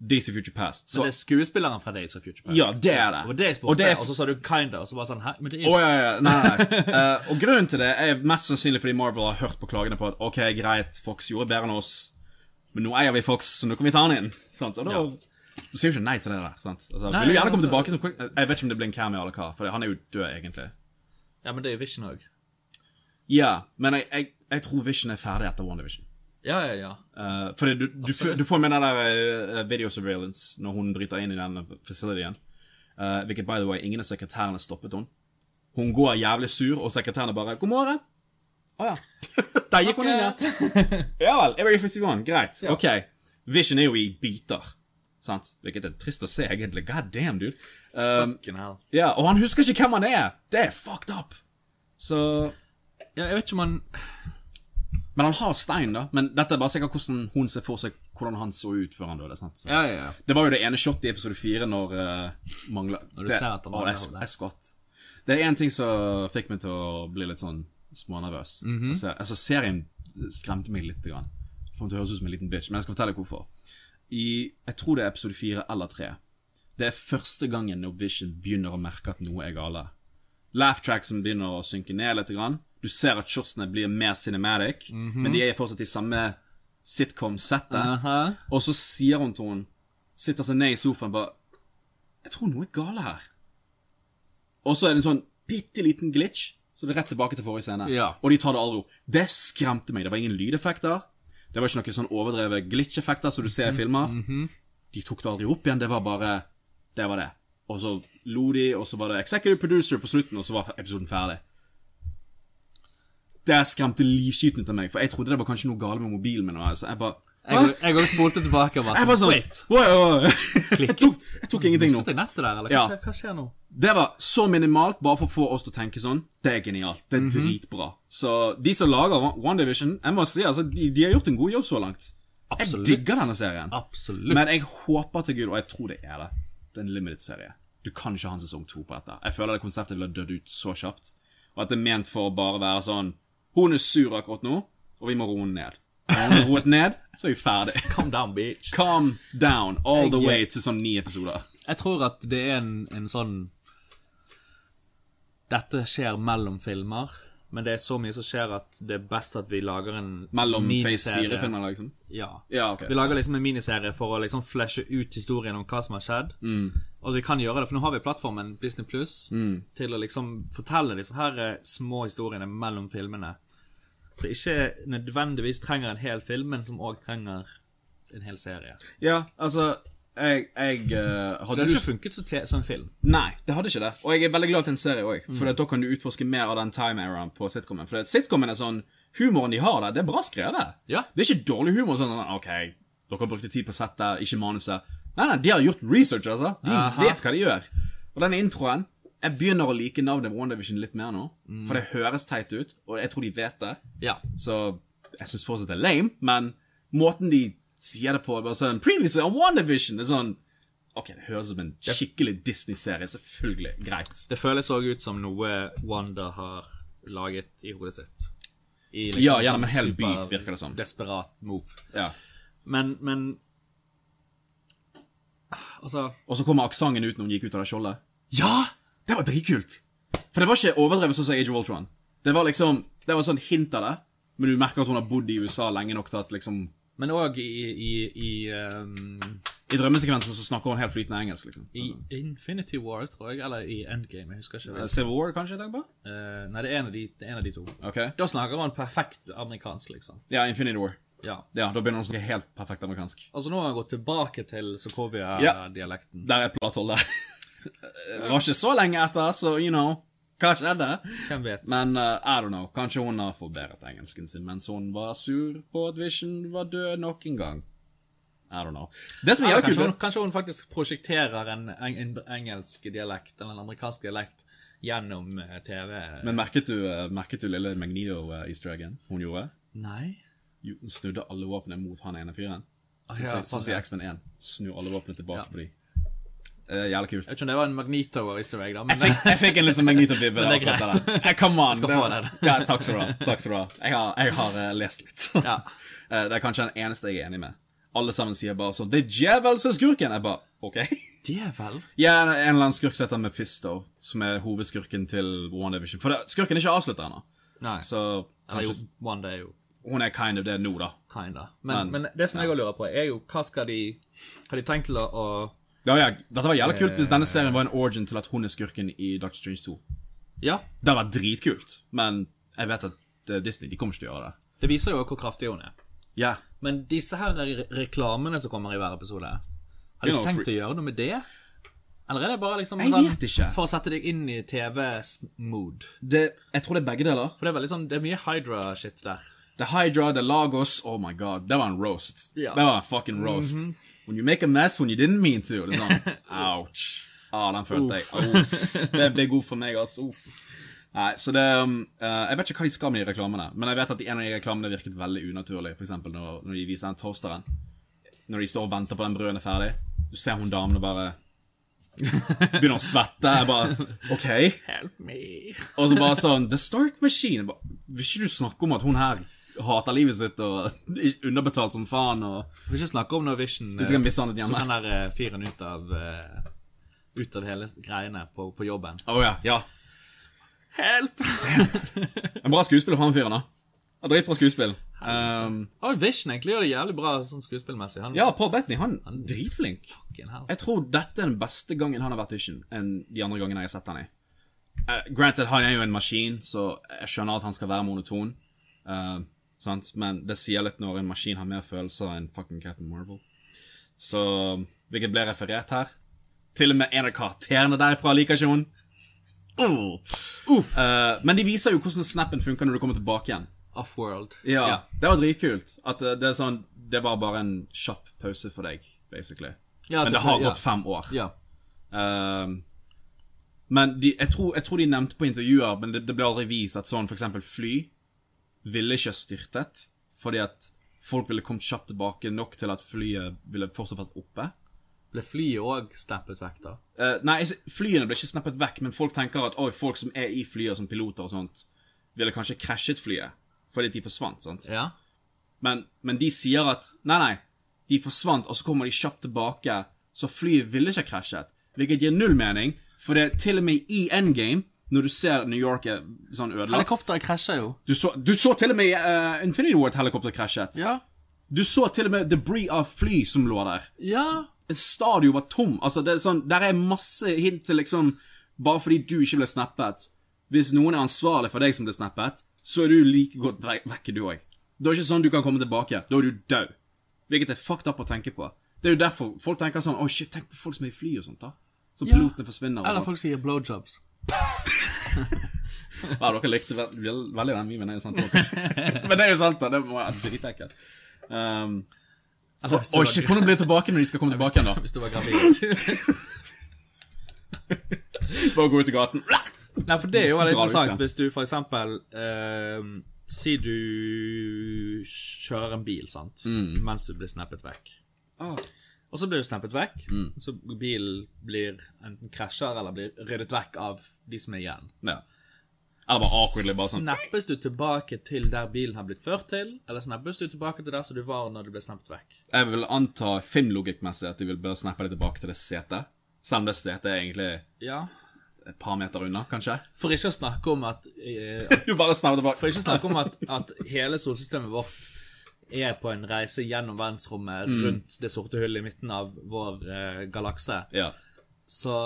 Days of Future Past. Så,
Det er skuespilleren fra Days of Future Past.
Ja, det er det.
Og det
Og
altså jeg spurte,
det er-
og, så sa du kinda, og så bare sånn Hæ? Men det er
Å,
jo
ja, ja, ja. Nei, nei. nei. Eh, og grunnen til det er mest sannsynlig fordi Marvel har hørt på klagene på at ok, greit, Fox gjorde bedre enn oss, men nå eier vi Fox, så nå kan vi ta han inn. Sant? Og da, Du sier jo ikke nei til det der. sant? Altså, vil du
ja,
gjerne komme
altså-
tilbake som Quick- Jeg vet ikke om det blir en cameo eller hva, for han er jo død, egentlig.
Ja, men det er jo Vision òg.
Ja, men jeg, jeg, jeg tror Vision er ferdig etter WandaVision.
Ja, ja, ja.
Uh, fordi du, du, f- du får med den der eh, video surveillance når hun bryter inn i den facilityen. Eh, hvilket, by the way, ingen av sekretærene stoppet hun. Hun går jævlig sur, og sekretærene bare 'God morgen'. Å ja. Der gikk hun inn, ja. Ja vel. Area 51. Greit. Ok. Vision er jo i biter. Sant? Hvilket er trist å se, egentlig. God damn, dude. Um,
Fucking hell.
ja, og han husker ikke hvem han er! Det er fucked up! Så
Ja, jeg vet ikke om han
men han har stein, da. Men dette er bare sikkert hvordan hun ser for seg hvordan han så ut før han døde. sant? Så.
Ja, ja, ja.
Det var jo det ene shotet i episode fire når eh, mangla Når
du ser at han mangler
jeg,
hodet.
jeg skvatt. Det er én ting som fikk meg til å bli litt sånn smånervøs.
Mhm.
altså, altså, serien skremte meg litt. Grann. For hun høres ut som en liten bitch, men jeg skal fortelle hvorfor. I, jeg tror det er episode fire eller tre. Det er første gangen når Vision begynner å merke at noe er gale. Laugh tracksen begynner å synke ned litt. Grann. Du ser at shotsene blir mer cinematic, men de er fortsatt i samme sitcom-settet. Og så sier hun til henne, sitter seg ned i sofaen bare Jeg tror noe er gale her. Og så er det en sånn bitte liten glitch, så det er rett tilbake til forrige scene.
Ja.
Og de tar det all ro. Det skremte meg. Det var ingen lydeffekter. Det var ikke noen sånn overdrevet glitch-effekter som du ser i filmer. De tok det aldri opp igjen. Det var bare Det var det. Og så lo de, og så var det executive producer på slutten, og så var episoden ferdig. Det skremte livskiten ut av meg, for jeg trodde det var kanskje noe galt med mobilen min. og Altså. Jeg bare
Jeg jeg òg spolte tilbake
jeg
og bare
bare sånn
sånn Wait.
Wow, wow, wow. Jeg tok, jeg tok ingenting nå.
Mistet jeg nettet der, eller?
Ja.
Hva skjer- Hva skjer nå?
Det var så minimalt bare for å få oss til å tenke sånn. Det er genialt. Det er
Mhm.
dritbra. Så de som lager OneDivision, jeg må si, altså, de, de har gjort en god jobb så langt.
Absolutt.
Jeg digger denne serien.
Absolutt.
Men jeg håper til Gud, og jeg tror det er det, det er en limited serie. Du kan ikke ha en sesong to på dette. Jeg føler det konseptet ville ha dødd ut så kjapt. Og at det er ment for å bare være sånn Hun er sur akkurat nå, og vi må roe henne ned. Når hun er roet ned, så er vi ferdig.
Calm down, bitch.
Calm down all the
Jeg-
way til sånn ni episoder.
Jeg tror at det er en, en sånn Dette skjer mellom filmer, men det er så mye som skjer at det er best at vi lager en
Mellom Phase
miniserie.
4-filmer, liksom.
Ja.
Ja, ok.
Vi lager liksom en miniserie for å liksom fleshe ut historien om hva som har skjedd.
Mm.
Og vi kan gjøre det, for nå har vi plattformen Disney Pluss til å liksom fortelle disse her eh, små historiene mellom filmene. Så ikke nødvendigvis trenger en hel film, men som òg trenger en hel serie.
Ja, altså jeg, jeg eh, hadde
Det har
du,
ikke funket så te- som en film.
Nei, det hadde ikke det. Og jeg er veldig glad til en serie òg, for at da kan du utforske mer av den time eraen på sitcomen. For at sitcomen er sånn Humoren de har der, det er bra skrevet.
Ja.
Det er ikke dårlig humor. sånn sånn, OK, dere brukte tid på settet, ikke manuset. Nei, nei, de har gjort research, altså. De vet hva de gjør. Og den introen Jeg begynner å like navnet WandaVision litt mer nå, for det høres teit ut, og jeg tror de vet det.
Ja.
Så jeg syns fortsatt det er lame, men måten de sier det på er bare sånn Previously on WandaVision! Det er sånn Ok, det høres ut som en skikkelig Disney-serie. Selvfølgelig. Greit.
Det føles òg ut som noe Wanda har laget i hodet sitt. I liksom
Ja,
sånn
gjennom en hel by,
super
virker det som.
Desperat move.
Ja.
Men, men Altså
Og så kommer aksenten ut når hun gikk ut av det skjoldet.
Ja!
Det var dritkult! For det var ikke overdrevet sånn som Age of Ultron. Det var liksom Det var sånn hint av det, men du merker at hun har bodd i USA lenge nok til at liksom
Men òg i, i, i, um,
I drømmesekvensen så snakker hun helt flytende engelsk, liksom.
i Infinity War, tror jeg, eller i Endgame, jeg husker ikke. hvilken.
Civil War, kanskje, jeg tenker på?
Eh, nei, det er en av de, det er en av de to.
Ok.
Da snakker han perfekt amerikansk, liksom.
Ja, Infinity War.
Ja.
Ja, da begynner hun å snakke helt perfekt amerikansk.
Altså, nå har han gått tilbake til
Ja.
Sokovia-dialekten.
Der er et plathold der. Det var ikke så lenge etter, så you know. Hva skjedde?
Hvem vet?
Men eh, I don't know. Kanskje hun har forbedret engelsken sin mens hun var sur på at Vision var død nok en gang. I don't know. Det som er
Eller
jævlig
kanskje, hun,
kult
kanskje hun faktisk prosjekterer en, en, en engelsk dialekt, eller en amerikansk dialekt, gjennom eh, TV.
Men merket du, eh, merket du lille Magneto-easter eggen hun gjorde?
Nei?
Jo, Hun snudde alle våpnene mot han ene fyren.
Altså,
ja,
Sånn som
sånn,
i
ja.
X-Men 1. Snu alle våpnene tilbake
Ja.
på de. Eh, jævlig kult.
Jeg vet ikke om det var en Magnito easter egg, da, men
Jeg fikk, jeg fikk en litt sånn Magneto-bibbe.
Men det er
akkurat der. Eh, Come on.
skal
det-
få den.
Ja, takk skal du ha. Takk skal du ha. Jeg har, jeg har eh, lest litt.
Ja.
Eh, Det er kanskje den eneste jeg er enig med. Alle sammen sier bare sånn 'Det er djevelseskurken!' Jeg bare OK.
Djevel!
Ja, en en eller annen skurk som heter Mephisto, som er hovedskurken til One Division. For det, skurken er ikke avslutta ennå,
Nei.
så
Eller jo,
kanskje
One Day, jo.
hun er kind of det nå, da.
Kinda. Men, men, det som jeg også lurer på, er jo hva skal de Har de tenkt til å, å
Ja, ja, dette var jævla kult hvis denne serien var en origin til at hun er skurken i Doctor Strange 2.
Ja,
Det hadde vært dritkult, men jeg vet at det er Disney de kommer ikke til å gjøre det.
det viser jo hvor kraftig hun er.
Ja,
Men disse her re- reklamene som kommer i hver episode, har
You
de
know,
tenkt å
free-
gjøre noe med det? Eller er det bare liksom
Jeg vet ikke.
for å sette deg inn i TV-mood?
det, jeg tror det er begge deler.
For det er veldig sånn, det er mye Hydra-shit der.
Det er Hydra, det er Lagos, oh my god, det var en roast.
Ja.
Det var en fucking roast. When you make a mess when you didn't mean to. Det er sånn, ouch. Ah, den følte jeg. Uff. Det er en big ord for meg, altså. Uff. Nei, så det um, eh, Jeg vet ikke hva de skal med de reklamene, men jeg vet at i en av de reklamene virket veldig unaturlig, f.eks. Når, når de viser den toasteren. Når de står og venter på den brøden er ferdig, du ser hun damen og bare Begynner å svette. Jeg bare OK.
Help me.
Og så bare sånn The Stark Machine. Jeg bare, Vil ikke du snakke om at hun her hater livet sitt og er underbetalt som faen og
Vi skal ikke snakke om når Vision
Hvis jeg kan miste han et
tok
hjemme?
han der eh, fyren ut av eh, Ut av hele greiene på, på jobben.
Å ja. ja.
Help!
En bra skuespiller for han fyren, da. Ja, Dritbra skuespill. Um,
Og Vision egentlig gjør det jævlig bra sånn skuespillmessig. Han
ja, Paul Bettany, han er dritflink.
fucking hell.
Jeg tror dette er den beste gangen han har vært i Vision, enn de andre gangene jeg har sett han i. Eh, granted, han er jo en maskin, så jeg skjønner at han skal være monoton. eh, sant? Men det sier litt når en maskin har mer følelser enn fucking Captain Marvel. Så Hvilket ble referert her. Til og med en av karakterene derfra liker ikke hun. Oh. Eh, men de viser jo hvordan snappen funker når du kommer tilbake igjen.
Offworld.
Ja, Det var dritkult. At eh, det er sånn Det var bare en kjapp pause for deg, basically.
Ja,
men
det-
det har
ja.
gått fem år.
Ja.
Ehm, men de, jeg, tror, jeg tror de nevnte på intervjuer, men det, det ble aldri vist at sånn for eksempel fly ville ikke styrtet, fordi at folk ville kommet kjapt tilbake nok til at flyet ville fortsatt vært oppe.
Ble flyet òg snappet vekk, da?
Eh, nei, s- flyene ble ikke snappet vekk, men folk tenker at oi, folk som er i flyet som piloter og sånt, ville kanskje krasjet flyet, fordi at de forsvant, sant?
Ja.
Men, men de sier at nei, nei, de forsvant, og så kommer de kjapt tilbake, så flyet ville ikke ha krasjet. Hvilket gir null mening, for det er til og med i endgame, når du ser New York er sånn ødelagt
Helikopteret krasja jo.
du så, du så til og med eh, Infinity War et helikopter krasjet.
Ja.
Du så til og med debris av fly som lå der.
Ja.
Et stadion var tom. Altså, det er sånn, der er masse hint til liksom Bare fordi du ikke ble snappet. Hvis noen er ansvarlig for deg som ble snappet, så er du like godt ve vekke, du òg. Det er ikke sånn du kan komme tilbake. Da er du død. Hvilket er fucked up å tenke på. Det er jo derfor folk tenker sånn Å, shit, tenk på folk som er i fly og sånt, da. Så
Ja.
pilotene forsvinner og
Eller
sånn.
folk sier blowjobs.
Ja, dere likte vel- vel- veldig den memen, er jo sant? dere? Men det er jo sant, da. Det må være dritekkelt. Um,
Eller
Å, shit, hvordan blir det tilbake når de skal komme tilbake igjen, da?
Hvis du var gravid.
Bare gå ut i gaten.
Nei, for det er jo
Drar
veldig
ut,
interessant
ja.
hvis du for eksempel eh, Si du kjører en bil, sant,
Mm.
mens du blir snappet vekk.
Ah.
Og så blir du snappet vekk,
Mm.
så bilen blir enten krasjer eller blir ryddet vekk av de som er igjen.
Ja. Eller bare awkwardly, bare sånn
Snappes du tilbake til der bilen har blitt ført til, eller snappes du tilbake til der som du var når du ble snappet vekk?
Jeg vil anta filmlogikkmessig at de vil bare snappe det tilbake til det setet. Selv om det setet er egentlig
Ja.
et par meter unna, kanskje.
For ikke å snakke om at eh,
Du bare snapper tilbake.
For ikke å snakke om at, at hele solsystemet vårt er på en reise gjennom verdensrommet rundt det sorte hullet i midten av vår eh, galakse.
Ja.
Så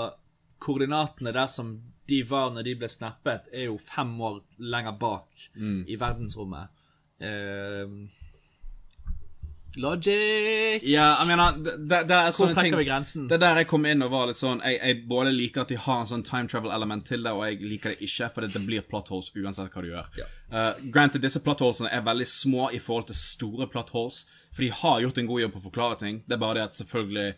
koordinatene der som de var når de ble snappet, er jo fem år Mm. lenger bak i verdensrommet. Eh, Logic!
Ja, jeg mener, det, det, det er
Hvor
sånne ting
trekker vi grensen?
Det er der jeg kom inn og var litt sånn Jeg, jeg både liker at de har en sånn time travel-element til det, og jeg liker det ikke, for det, det blir plot holes uansett hva du gjør. Eh, granted, disse plot holesene er veldig små i forhold til store plot holes, for de har gjort en god jobb på å forklare ting. Det er bare det at selvfølgelig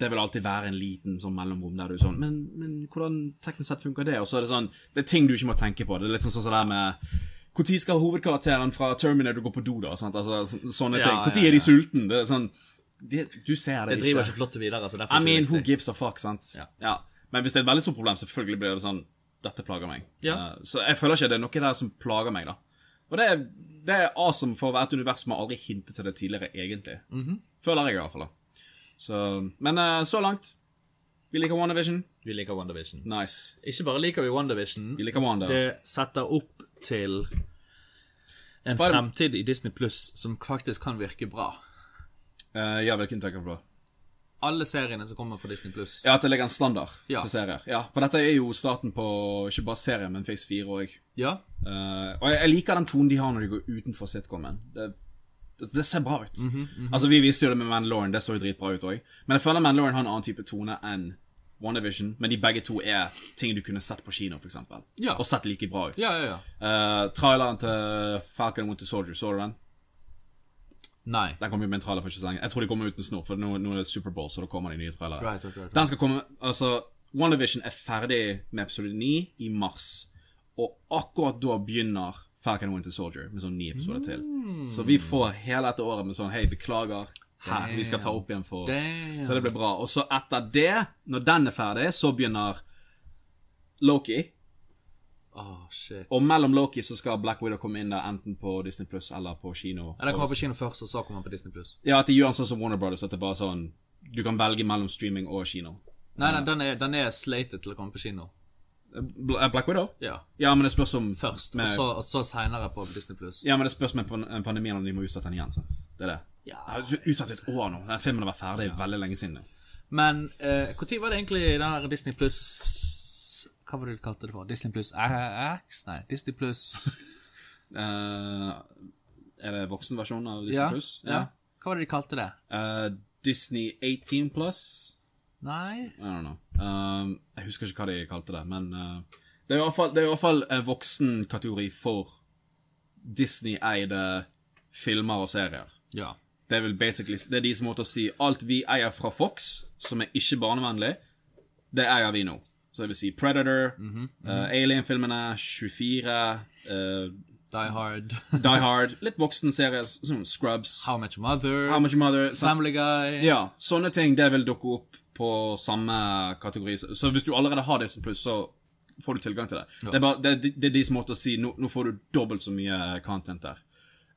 det vil alltid være en liten sånn mellomrom der du er sånn men, men hvordan teknisk sett funker det? Og så er det sånn Det er ting du ikke må tenke på. Det er litt sånn sånn som det der med når skal hovedkarakteren fra Terminator gå på do, da? Sant? Altså, så- sånne ting.
ja,
Når er de sulten? Det er sånn det, Du ser det,
Det driver ikke plottet videre. så derfor
I mean,
ikke
who
det viktig.
gives a fuck, sant? Ja. Men hvis det er et veldig stort problem, selvfølgelig blir det sånn Dette plager meg.
Ja.
Eh, så jeg føler ikke det er noe der som plager meg, da. Og det er, det er awesome for å være et univers som har aldri hintet til det tidligere, egentlig.
Mhm.
Føler jeg, i hvert fall. da. Så, men eh, så langt Vi liker WandaVision.
Vi liker WandaVision.
Nice.
Ikke bare liker vi WandaVision,
Vi liker Wanda.
det setter opp til en
Spider-
fremtid i Disney Pluss som faktisk kan virke bra.
Eh, ja, hvilken tenker du på?
Alle seriene som kommer fra Disney Pluss.
Ja, At det ligger en standard
Ja.
til serier. Ja, For dette er jo starten på ikke bare serien, men Phase 4 òg.
Ja.
Eh, og jeg, jeg liker den tonen de har når de går utenfor sitcomen. Det, det, det ser bra ut.
Mhm,
Altså Vi visste jo det med Mandalorian, det så jo dritbra ut òg. Men jeg føler Mandalorian har en annen type tone enn WandaVision. Men de begge to er ting du kunne sett på kino, f.eks.
Ja.
Og sett like bra ut.
Ja, ja, ja.
Eh, traileren til Falcon mot The Soldier, så du den?
Nei.
Den kom jo med en trailer for ikke så lenge. Jeg tror de kommer uten snor, for nå, nå er det Superbowl, så da kommer de nye trailere.
Right, right, right.
Den skal komme Altså, WandaVision er ferdig med episode 9 i mars, og akkurat da begynner Falcon and Winter Soldier med sånn ni episoder til.
Mm.
Så vi får hele dette året med sånn Hei, beklager. Her, vi skal ta opp igjen for
Damn.
Så det blir bra. Og så etter det, når den er ferdig, så begynner Loki.
Åh, Ah, shit.
Og mellom Loki så skal Black Widow komme inn der enten på Disney Pluss eller på kino.
Ja, Den kommer på kino først, og så kommer den på Disney Pluss.
Ja, at de gjør en sånn som Warner Brothers, at det bare er sånn Du kan velge mellom streaming og kino.
Nei, nei, den er, den er slated til å komme på kino.
Bl- eh, Black Widow?
Ja.
Ja, men det spørs om
Først,
med,
og så, og så seinere på Disney Pluss.
Ja, men det spørs med pan- eh, pandemien om de må utsette den igjen, sant? Det er det.
Ja.
Jeg har jo utsatt et år nå. Den filmen har vært ferdig veldig lenge siden. nå.
Men eh, hvor tid var det egentlig den der Disney Pluss Hva var det du kalte det for? Disney Pluss X? Nei, Disney Pluss
Eh, er det voksenversjonen av Disney
ja,
Plus?
ja. Hva var det de kalte det?
Eh, Disney 18 Plus?
Nei
I don't know. Um, jeg husker ikke hva de kalte det, men eh, det er i hvert fall- det er i hvert fall en voksenkategori for Disney-eide filmer og serier.
Ja.
Det er vel basically Det er deres måte å si alt vi eier fra Fox, som er ikke barnevennlig, det eier vi nå. Så det vil si Predator, eh, Alien-filmene, 24, eh,
Die Hard.
Die Hard, litt voksenserier, sånn Scrubs,
How Much Mother.
How Much Mother sant?
Family Guy.
Ja, sånne ting det vil dukke opp på samme kategori. Så hvis du allerede har Disney Pluss, så får du tilgang til det. Det, er bare, det, er- det er deres måte å si nå, nå får du dobbelt så mye content der.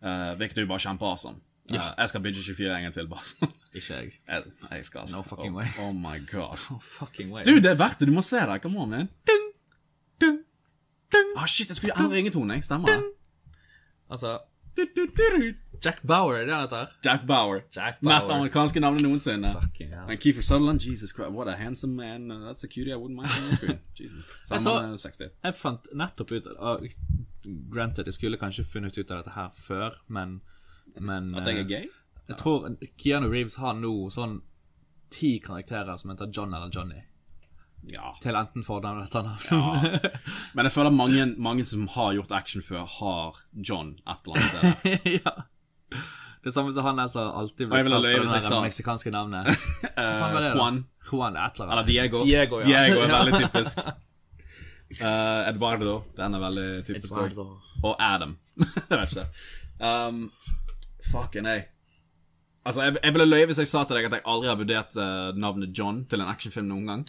Eh, hvilket er jo bare kjempeawesome. Uh, jeg skal bidge 24 en gang til, bare. sånn.
Ikke jeg.
jeg, jeg skal. No
fucking
oh,
way.
Oh my god.
Fucking way.
Du, det er verdt det! Du må se det! Come on, man. Dun, dun, dun, ah, shit, jeg skulle endre ringetone. Jeg stemmer. det.
Altså
Du, du, du, du.
Jack Bauer, er det han heter?
Jack Bauer.
Jack Bauer.
Mest amerikanske navnet noensinne.
Fucking hell.
And Kiefer Sutherland, Jesus Christ, what a handsome man. Uh, That's a cutie I wouldn't mind seeing on the screen. Jesus. Sammen
så-
med 60.
Jeg fant nettopp ut uh, Granted, jeg skulle kanskje funnet ut av dette her før, men, men
At jeg er
eh,
gay?
Jeg tror Keanu Reeves har nå sånn ti karakterer som heter John eller Johnny.
Ja.
Til enten fornavn eller etternavn.
Men jeg føler mange, mange som har gjort action før, har John et eller annet sted.
Ja. Det samme som han der som alltid
Og jeg
blir
ville
kalt
løye
for
hvis
det
jeg
der
sa-
meksikanske navnet. Hva faen var det da?
Juan.
Juan et eller
Eller
annet.
Diego.
Diego, ja.
Diego er veldig typisk. Eh, Eduardo. Den er veldig typisk. også.
Eduardo.
Og Adam. jeg vet ikke. Um, fucking ei. Altså, jeg, jeg ville løye hvis jeg sa til deg at jeg aldri har vurdert eh, navnet John til en actionfilm noen gang.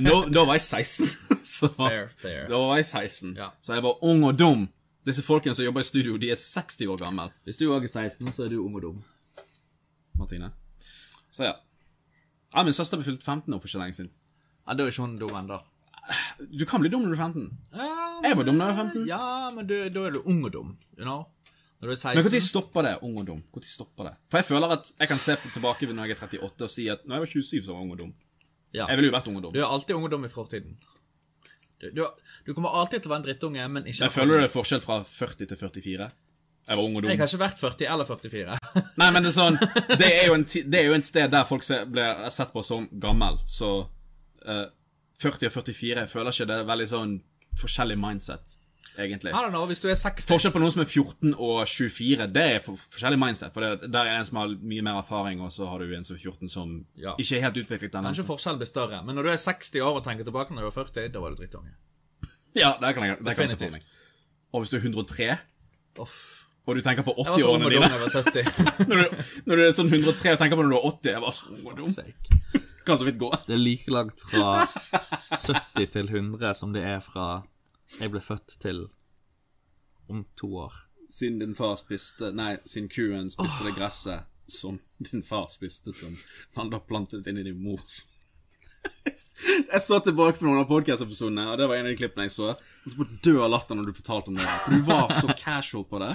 Nå, da var jeg 16. Så,
Fair, fair.
Da var jeg 16.
Ja.
Så jeg var ung og dum. Disse folkene som jobber i studio, de er 60 år gamle.
Hvis du òg er 16, så er du ung og dum.
Martine. Så ja. Ja, Min søster ble fylt 15 år for ikke lenge siden.
Ja, Da er ikke hun dum ennå.
Du kan bli dum når du er 15. Jeg var dum da jeg var 15.
Ja, men du, da er du ung og dum. You know? Når du er
Men når
16
stopper det, ung og dum? Når stopper det? For jeg føler at jeg kan se på- tilbake når jeg er 38 og si at når jeg var 27, så var jeg ung og dum.
Ja.
Jeg ville jo vært ung og dum.
Du er alltid ung og dum i fortiden. Du, du, du kommer alltid til å være en drittunge, men ikke
Men føler du det er forskjell fra 40 til 44? Jeg var ung og
Jeg
dum.
har ikke vært 40 eller 44.
Nei, men det er sånn Det er jo, en, ti- det er jo et sted der folk ser, blir sett på som gammel, så eh, 40 og 44 jeg føler ikke det er veldig sånn forskjellig mindset, egentlig.
I don't know, hvis du er 60
Forskjell på noen som er 14 og 24, det er for, forskjellig mindset. For det, der er en som har mye mer erfaring, og så har du en som er 14 som
Ja.
ikke er helt utviklet ennå.
Kanskje forskjellen blir større, men når du er 60 år og tenker tilbake når du var 40, da var du drittunge.
Ja, der kan jeg, der kan jeg se for meg.
Definitivt.
Og hvis du er 103,
Uff.
og du tenker på
Jeg var så ung
80-årene
og dum da
dine
jeg var 70.
når du, når du er sånn 103 og tenker på når du er 80, jeg var så ung og dum. Kan så vidt gå.
Det er like langt fra 70 til 100 som det er fra jeg ble født til om to år.
Siden din far spiste Nei, siden kuen spiste det gresset som din far spiste, som han da plantet inn i din mor. Jeg så tilbake på noen av podkast-episodene, og det var en av de klippene jeg så. Og så bare død av latter når du fortalte om det. For du var så casual på det.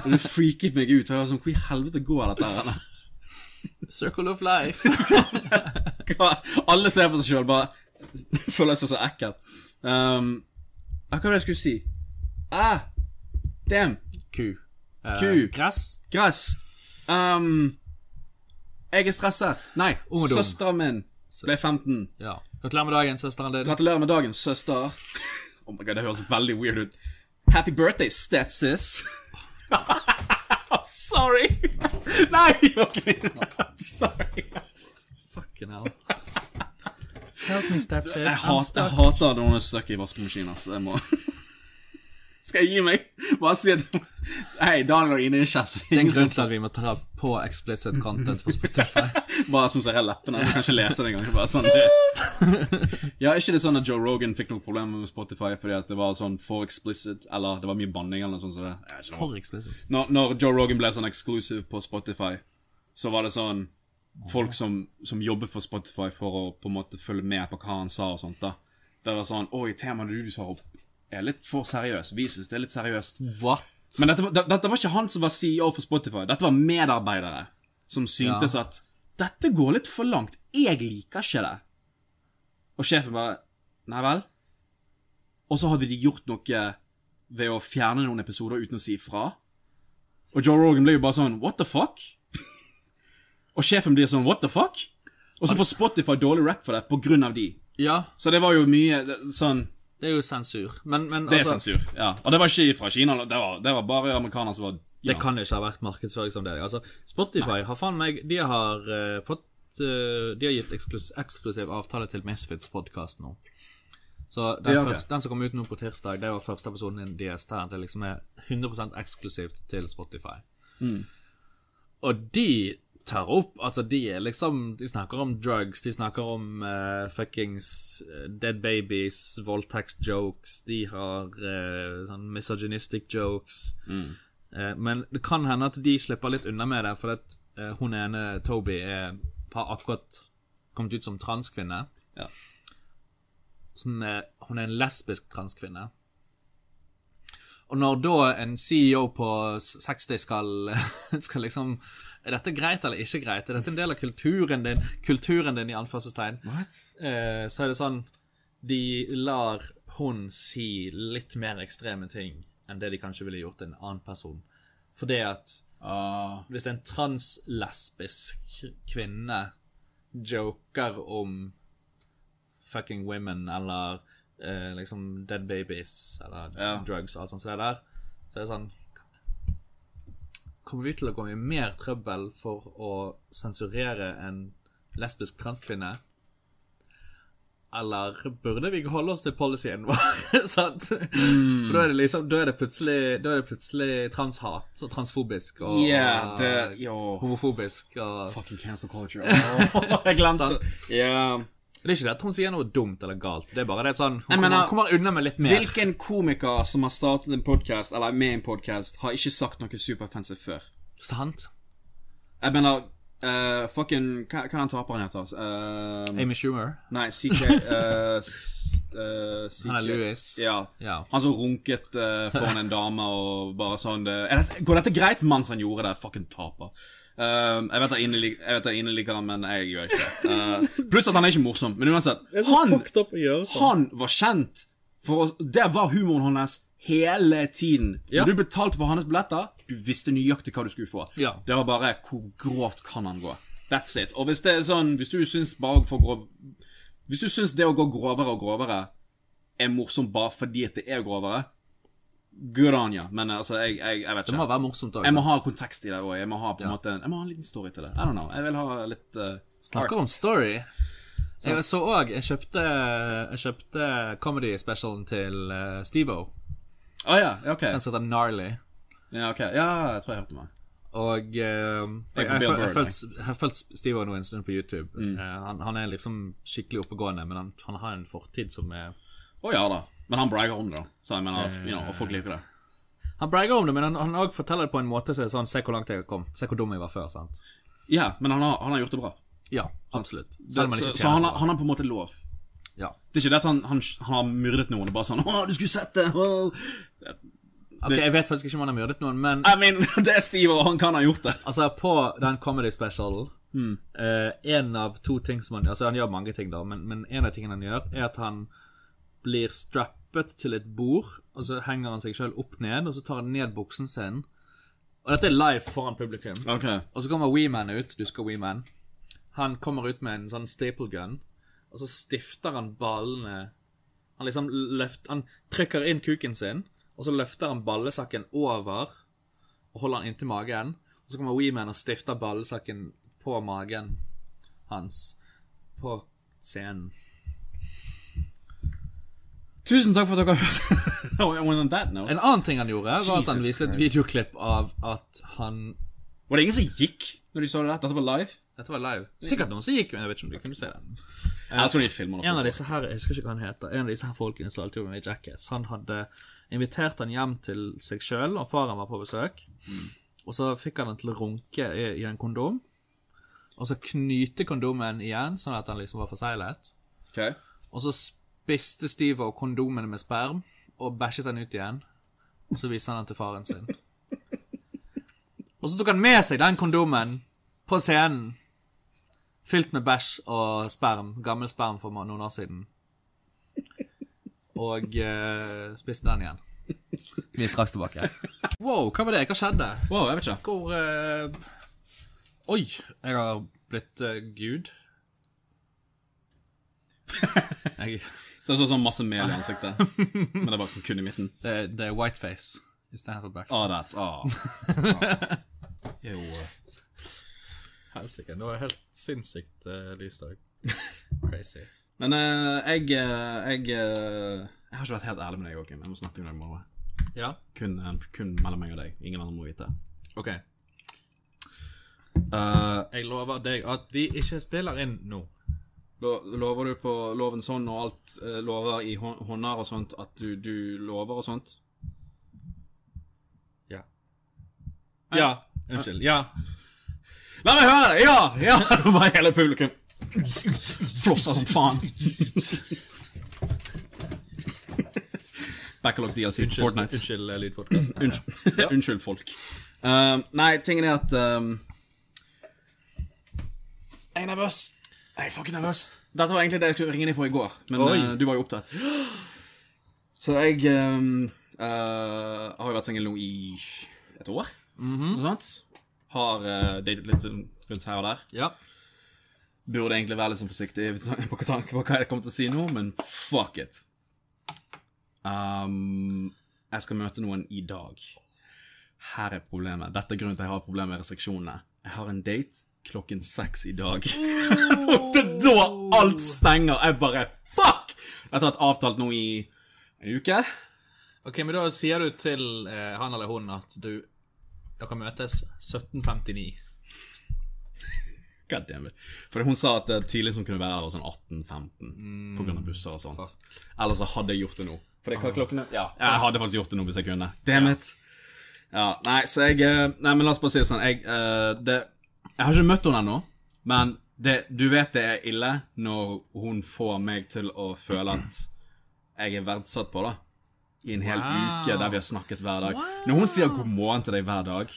Og det freaket meg ut. Og jeg var sånn Hvor i helvete går dette her?
Circle of life.
Hva- Alle ser på seg sjøl, bare føler seg så ekkel. Um, ja, hva var det jeg skulle si? Ah, damn.
Ku. Eh,
Ku.
Gress.
Gress. Um, jeg er stresset. Nei,
og dum.
søsteren min ble 15.
Ja. Gratulerer med dagen, søsteren din.
Gratulerer med dagen, søster. Oh my god, Det høres veldig weird ut. Happy birthday, stepsis. Sorry! Nei, okay. Sorry.
Fucking hell. Help me, stepsis.
Jeg, hat, jeg hater når hun er stuck i vaskemaskinen, så jeg må Skal jeg gi meg? Bare si at Hei, Daniel og Ine er
Det er
kjærester.
en grunn til at vi må ta på explicit content på Spotify.
Bare som ser leppene. Jeg kan ikke lese det engang. Bare sånn Ja, ikke det sånn at Joe Rogan fikk noe problem med Spotify fordi at det var sånn for explicit, eller det var mye banning eller noe sånt som det. Jeg vet ikke hva.
For explicit.
Når, når Joe Rogan ble sånn exclusive på Spotify, så var det sånn Folk som, som jobbet for Spotify for å på en måte følge med på hva han sa og sånt, da. Det var sånn Oi, temaet du tar opp, er litt for seriøst. Vi syns det er litt seriøst.
What?
Men dette, var- det- dette var ikke han som var CEO for Spotify. Dette var medarbeidere som syntes at dette går litt for langt. Jeg liker ikke det. Og sjefen bare Nei vel? Og så hadde de gjort noe ved å fjerne noen episoder uten å si ifra. Og Joe Rogan ble jo bare sånn What the fuck? og sjefen blir sånn What the fuck? Og så får Spotify dårlig rap for det på grunn av de.
Ja,
Så det var jo mye det- sånn
det er jo sensur. Men, men
Det er
altså
sensur. ja. Og det var ikke fra Kina, det var, det var bare amerikanere som var ja.
Det kan jo ikke ha vært markedsføringsavdeling. Altså, Spotify har faen meg De har eh, fått eh, De har gitt eksklus eksklusiv avtale til Misfits podcast nå. Så den,
Ja, ok.
første, den som kom ut nå på tirsdag, det var første episoden i DS der det liksom er 100 eksklusivt til Spotify.
Mm.
Og de tar opp Altså, de er liksom De snakker om drugs, de snakker om eh, fuckings eh, dead babies, voldtektsjokes, de har eh, sånn misogynistic jokes.
Mm.
Eh, men det kan hende at de slipper litt unna med det, for at eh, hun ene, Toby, er, har akkurat kommet ut som transkvinne.
Ja.
Som er, Sånn, eh, hun er en lesbisk transkvinne. Og når da en CEO på s- 60 skal, skal liksom Er dette greit eller ikke greit? Er dette en del av kulturen din? Kulturen din, i anførselstegn. Eh, så er det sånn De lar hun si litt mer ekstreme ting enn det de kanskje ville gjort en annen person. For det at
Ah,
hvis en translesbisk kvinne joker om fucking women eller eh, liksom dead babies eller
Ja.
drugs og alt sånt som det der, så er det sånn Kommer vi til å komme i mer trøbbel for å sensurere en lesbisk transkvinne? Eller burde vi holde oss til policyen vår? Sant?
Mm.
For da er det liksom Da er det plutselig, da er det plutselig transhat og transfobisk og
yeah, det Yo.
homofobisk og
Ah. Fucking cancel culture. Åh, jeg glemte
Sant.
det. Ja.
Det er ikke det at hun sier noe dumt eller galt. Det er bare det er sånn Hun
Jeg mener-
kommer, kommer unna med litt mer.
Hvilken komiker som har startet en podcast, eller er med i en podcast, har ikke sagt noe superoffensivt før?
Sant?
Jeg mener eh, fucking Hva hva er den taperen heter? altså? Eh,
Amy Schumer.
nei, CK eh, s- eh, CK
Han er Louis.
Ja.
Ja.
Han som runket eh, foran en dame og bare sånn det, er dette, Går dette greit, mann, som han gjorde det? Fucking taper. Eh, jeg vet at Ine lik- jeg vet at Ine liker han, men jeg gjør ikke det. Eh, pluss at han er ikke morsom. Men uansett, han
Altså.
Fucked up å gjøre sånn.
Han var kjent for å, Det var humoren hans hele tiden.
Ja.
Når du betalte for hans billetter, du visste nøyaktig hva du skulle få.
Ja.
Det var bare hvor grovt kan han gå. That's it. Og hvis det er sånn, hvis du syns bare for grov Hvis du syns det å gå grovere og grovere er morsomt bare fordi at det er grovere, good on you. Men altså, jeg, jeg, jeg vet ikke.
Det må være morsomt òg.
Jeg må ha kontekst i det òg. Jeg må ha på en måte Jeg må ha en liten story til det. I don't know. Jeg vil ha litt eh,
Snakker om story. Jeg så òg Jeg kjøpte Jeg kjøpte comedy specialen til uh, Stevo.
Å ja, ja, ok.
Den som heter Gnarly.
Ja, ok. ja, jeg tror jeg hørte meg.
Og eh, jeg, jeg,
Bill Burr,
føl- jeg,
Mm.
følt- jeg har fulgt Steve nå en stund på YouTube. Eh, han, han er liksom skikkelig oppegående, men han, han har en fortid som er
Å ja da. Men han brager om det, da. Så jeg mener, you know, og folk liker det.
Han brager om det, men han- han òg forteller det på en måte så er det sånn Se hvor langt jeg har kommet. Se hvor dum jeg var før. sant?
Ja, men han har, han har gjort det bra.
Ja, absolutt.
Så,
Selv om han
så,
ikke
så han,
tjener
har, han har på en måte lov.
så ja.
Det er ikke det at han, han, han har myrdet noen og bare sånn 'Å, du skulle sett det!' Å.
Ok, Jeg vet faktisk ikke om han har myrdet noen, men
I mean, det er Steve, og han kan ha gjort det.
altså, på den comedy specialen eh, En av to ting som han Altså, han gjør mange ting, da, men, men en av tingene han gjør, er at han blir strappet til et bord, og så henger han seg sjøl opp ned, og så tar han ned buksen sin. Og dette er live foran publikum.
Ok.
Og så kommer Weeman ut. Du skal Weeman. Han kommer ut med en sånn staple gun, og så stifter han ballene Han liksom løft, Han trykker inn kuken sin, og så løfter han ballesakken over og holder han inntil magen. Og så kommer Weeman og stifter ballesakken på magen hans på scenen.
Tusen takk for at dere har hørt. oh, and on that note,
En annen ting han gjorde, var at han
Jesus
viste et
Christ.
videoklipp av at han
Var det ingen som gikk når de så det der? Dette var live?
Dette var live. Sikkert noen som gikk, men jeg vet ikke om du kunne se det.
Jeg tror de filmer
En av
det.
disse her, jeg husker ikke hva han heter En av disse her folkene som alltid var med i Jackass Han hadde invitert han hjem til seg selv Og faren var på besøk Og så fikk han han til å runke i, i en kondom Og så knyte kondomen igjen Sånn at han liksom var forseglet
Okay.
Og så spiste Steve og kondomene med sperm Og bæsjet han ut igjen Og så viste han den til faren sin Og så tok han med seg den kondomen På scenen Fylt med bæsj og sperm. Gammel sperm for noen år siden. Og eh, spiste den igjen. Vi er straks tilbake. Wow, hva var det? Hva skjedde?
Wow, jeg vet ikke.
Hvor eh, Oi! Jeg har blitt eh, gud. Jeg,
Så jeg så sånn masse mel i ansiktet. Men det er bare kun i midten.
det, det er whiteface istedenfor back.
Ah, that's ah. Jo.
Helsike, det var helt sinnssykt uh, lysdag. Crazy.
Men eh, jeg eh, jeg, eh, jeg har ikke vært helt ærlig med deg, Joakim. Jeg må snakke med deg i morgen.
Ja,
Kun, eh, kun mellom meg og deg. Ingen andre må vite.
OK.
Eh,
Jeg lover deg at vi ikke spiller inn nå.
lo- lover du på lovens hånd og alt eh, lover i hå- hånder og sånt, at du, du lover og sånt?
Ja. Ja. Unnskyld. Ja.
La meg høre det! Ja! ja! Det var hele publikum. Flosser som faen. Backlog DLC. Fortnite.
Unnskyld lydpodkasten.
Unnskyld, Unnskyld folk. Um, nei, tingen er at um, Jeg er nervøs. Jeg er fucking nervøs. Dette var egentlig det jeg skulle ringe deg for i går, men
Oi.
eh, du var jo opptatt. Så jeg um, eh, har jo vært singel nå i et år, noe sånt. Har eh, datet litt rundt her og der.
Ja.
Burde egentlig være litt sånn forsiktig på tanke på hva jeg kommer til å si nå, men fuck it. Um, jeg skal møte noen i dag. Her er problemet. Dette er grunnen til at jeg har problemer med restriksjonene. Jeg har en date klokken seks i dag. Og det er da alt stenger. Jeg bare fuck! Dette har vært avtalt nå i en uke.
Ok, men da sier du til eh, han eller hun at du Dere møtes 1759.
God damn it. For hun sa at eh, tidlig som kunne være der var sånn 18-15 på grunn av busser og sånt. Ellers så hadde jeg gjort det nå. For det, hva klokken er? Ja, jeg hadde faktisk gjort det nå hvis jeg kunne. Damn it. Ja, nei, så jeg eh, Nei, men la oss bare si det sånn. Jeg, eh, det, jeg har ikke møtt henne ennå, men det, du vet det er ille når hun får meg til å føle at jeg er verdsatt på, da. I en hel uke der vi har snakket hver dag. Når hun sier god morgen til deg hver dag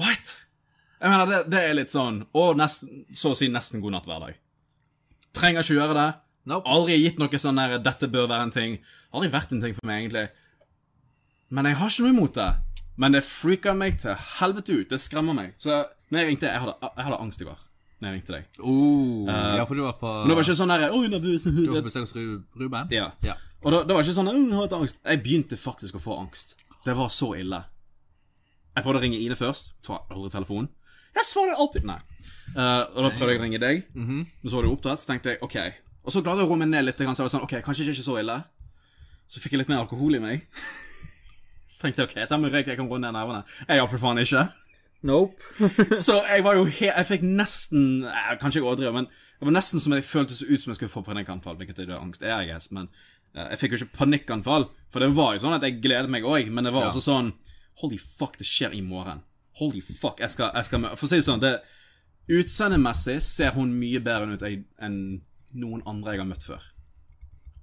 What?! Jeg mener, det, det er litt sånn Og nesten, så å si nesten god natt hver dag. Trenger ikke gjøre det.
Nope.
Aldri gitt noe sånn der 'dette bør være en ting'. Aldri vært en ting for meg, egentlig. Men jeg har ikke noe imot det. Men det freaker meg til helvete ut. Det skremmer meg. Så når jeg ringte, jeg hadde, jeg hadde angst i går. Når jeg ringte deg.
Oh, ja, for du var på
Men det var ikke sånn der, Oi, nervøs.
Du var på besøk hos Ru- Ruben?
Ja.
Ja.
Og da, det var ikke sånn «Åh, jeg har hatt angst. Jeg begynte faktisk å få angst. Det var så ille. Jeg prøvde å ringe Ine først. Tar aldri telefonen. Jeg svarer alltid Nei. Eh, og da prøvde jeg å ringe deg. Men så var du opptatt, så tenkte jeg OK. Og så klarte jeg å roe meg ned litt. grann, Så jeg var sånn, ok, kanskje ikke så ille. Så fikk jeg litt mer alkohol i meg. Så tenkte jeg ok, jeg tar meg en røyk, jeg kan roe ned nervene. Jeg hjalp for faen ikke.
Nope.
Så jeg var jo helt Jeg fikk nesten eh, Kanskje jeg overdriver, men det var nesten som jeg føltes ut som jeg skulle få panikkanfall. Hvilket er det angst er, I guess, men eh, jeg fikk jo ikke panikkanfall. For det var jo sånn at jeg gledet meg òg, men det var også sånn Holy fuck, det skjer i morgen. Holy fuck, jeg skal, jeg skal mø- For å si det sånn, det utseendemessig ser hun mye bedre enn ut jeg- enn noen andre jeg har møtt før.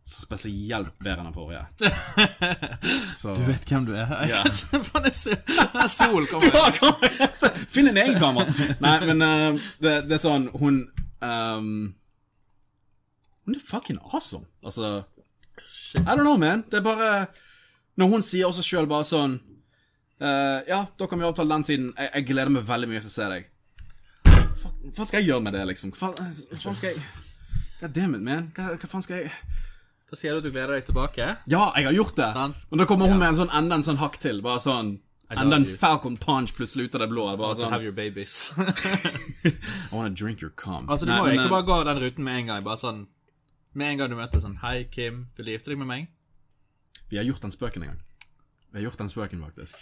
Spesielt bedre enn den forrige. Så
Du vet hvem du er.
ja.
Faen, jeg ser den solen
Du
kommer.
har kamerett! Finn en egen kamera! Nei, men eh, det, det er sånn Hun ehm, Hun er fucking awesome. Altså I don't know, man. Det er bare Når hun sier også sjøl bare sånn eh, Ja, da kan vi avtale den tiden. Jeg, jeg gleder meg veldig mye til å se deg. Fuck, Hva faen skal jeg gjøre med det, liksom? Hva faen hva faen skal jeg God damn it, man. Hva, hva faen skal jeg
Da sier du at du gleder deg tilbake.
Ja, jeg har gjort det!
Sant?
Og da kommer hun med en sånn enda en sånn hakk til. Bare sånn
love
Enda en
you.
falcon punch plutselig ut av det blå. Bare
To
sånn
Altså, have your babies.
I wanna drink your cum.
Altså, du
Nei,
må jo
men,
egentlig
eh,
bare gå den ruten med en gang. Bare sånn Med en gang du møter sånn Hei, Kim, vil du gifte deg med meg?
Vi har gjort den spøken en gang. Vi har gjort den spøken, faktisk.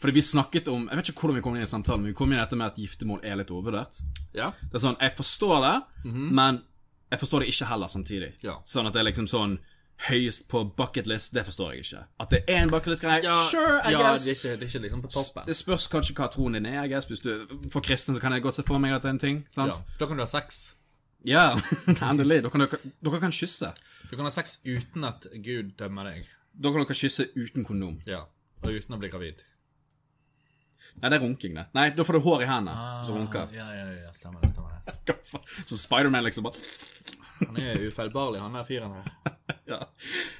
Fordi vi snakket om Jeg vet ikke hvordan vi kom inn i samtalen, men vi kom inn i dette med at giftermål er litt overvurdert.
Ja.
Det er sånn, Jeg forstår det, men jeg forstår det ikke heller samtidig.
Mhm. Ja.
Sånn at det er liksom sånn Høyest på bucketlist, det forstår jeg ikke. At det er en bucketlist-greie,
ja
sure, I
ja,
guess.
Det er, ikke, det er ikke liksom på toppen.
Det spørs kanskje hva troen din er. I guess. Hvis du, for kristne så kan jeg godt se for meg at det er en ting.
Ja.
sant?
Da kan du ha sex.
Ja, endelig. Dere, dere, dere kan kysse.
Du kan ha sex uten at Gud dømmer deg.
Dere kan dere kysse uten kondom.
Ja. Og uten å bli gravid.
Nei, det er runking, det. Nei, da får du hår i hendene som runker.
Ja, ja, Ah, ja, stemmer det. stemmer det
Hva faen? Som Spiderman, liksom. Bare
Han er ufeilbarlig, han der fyren her.
ja.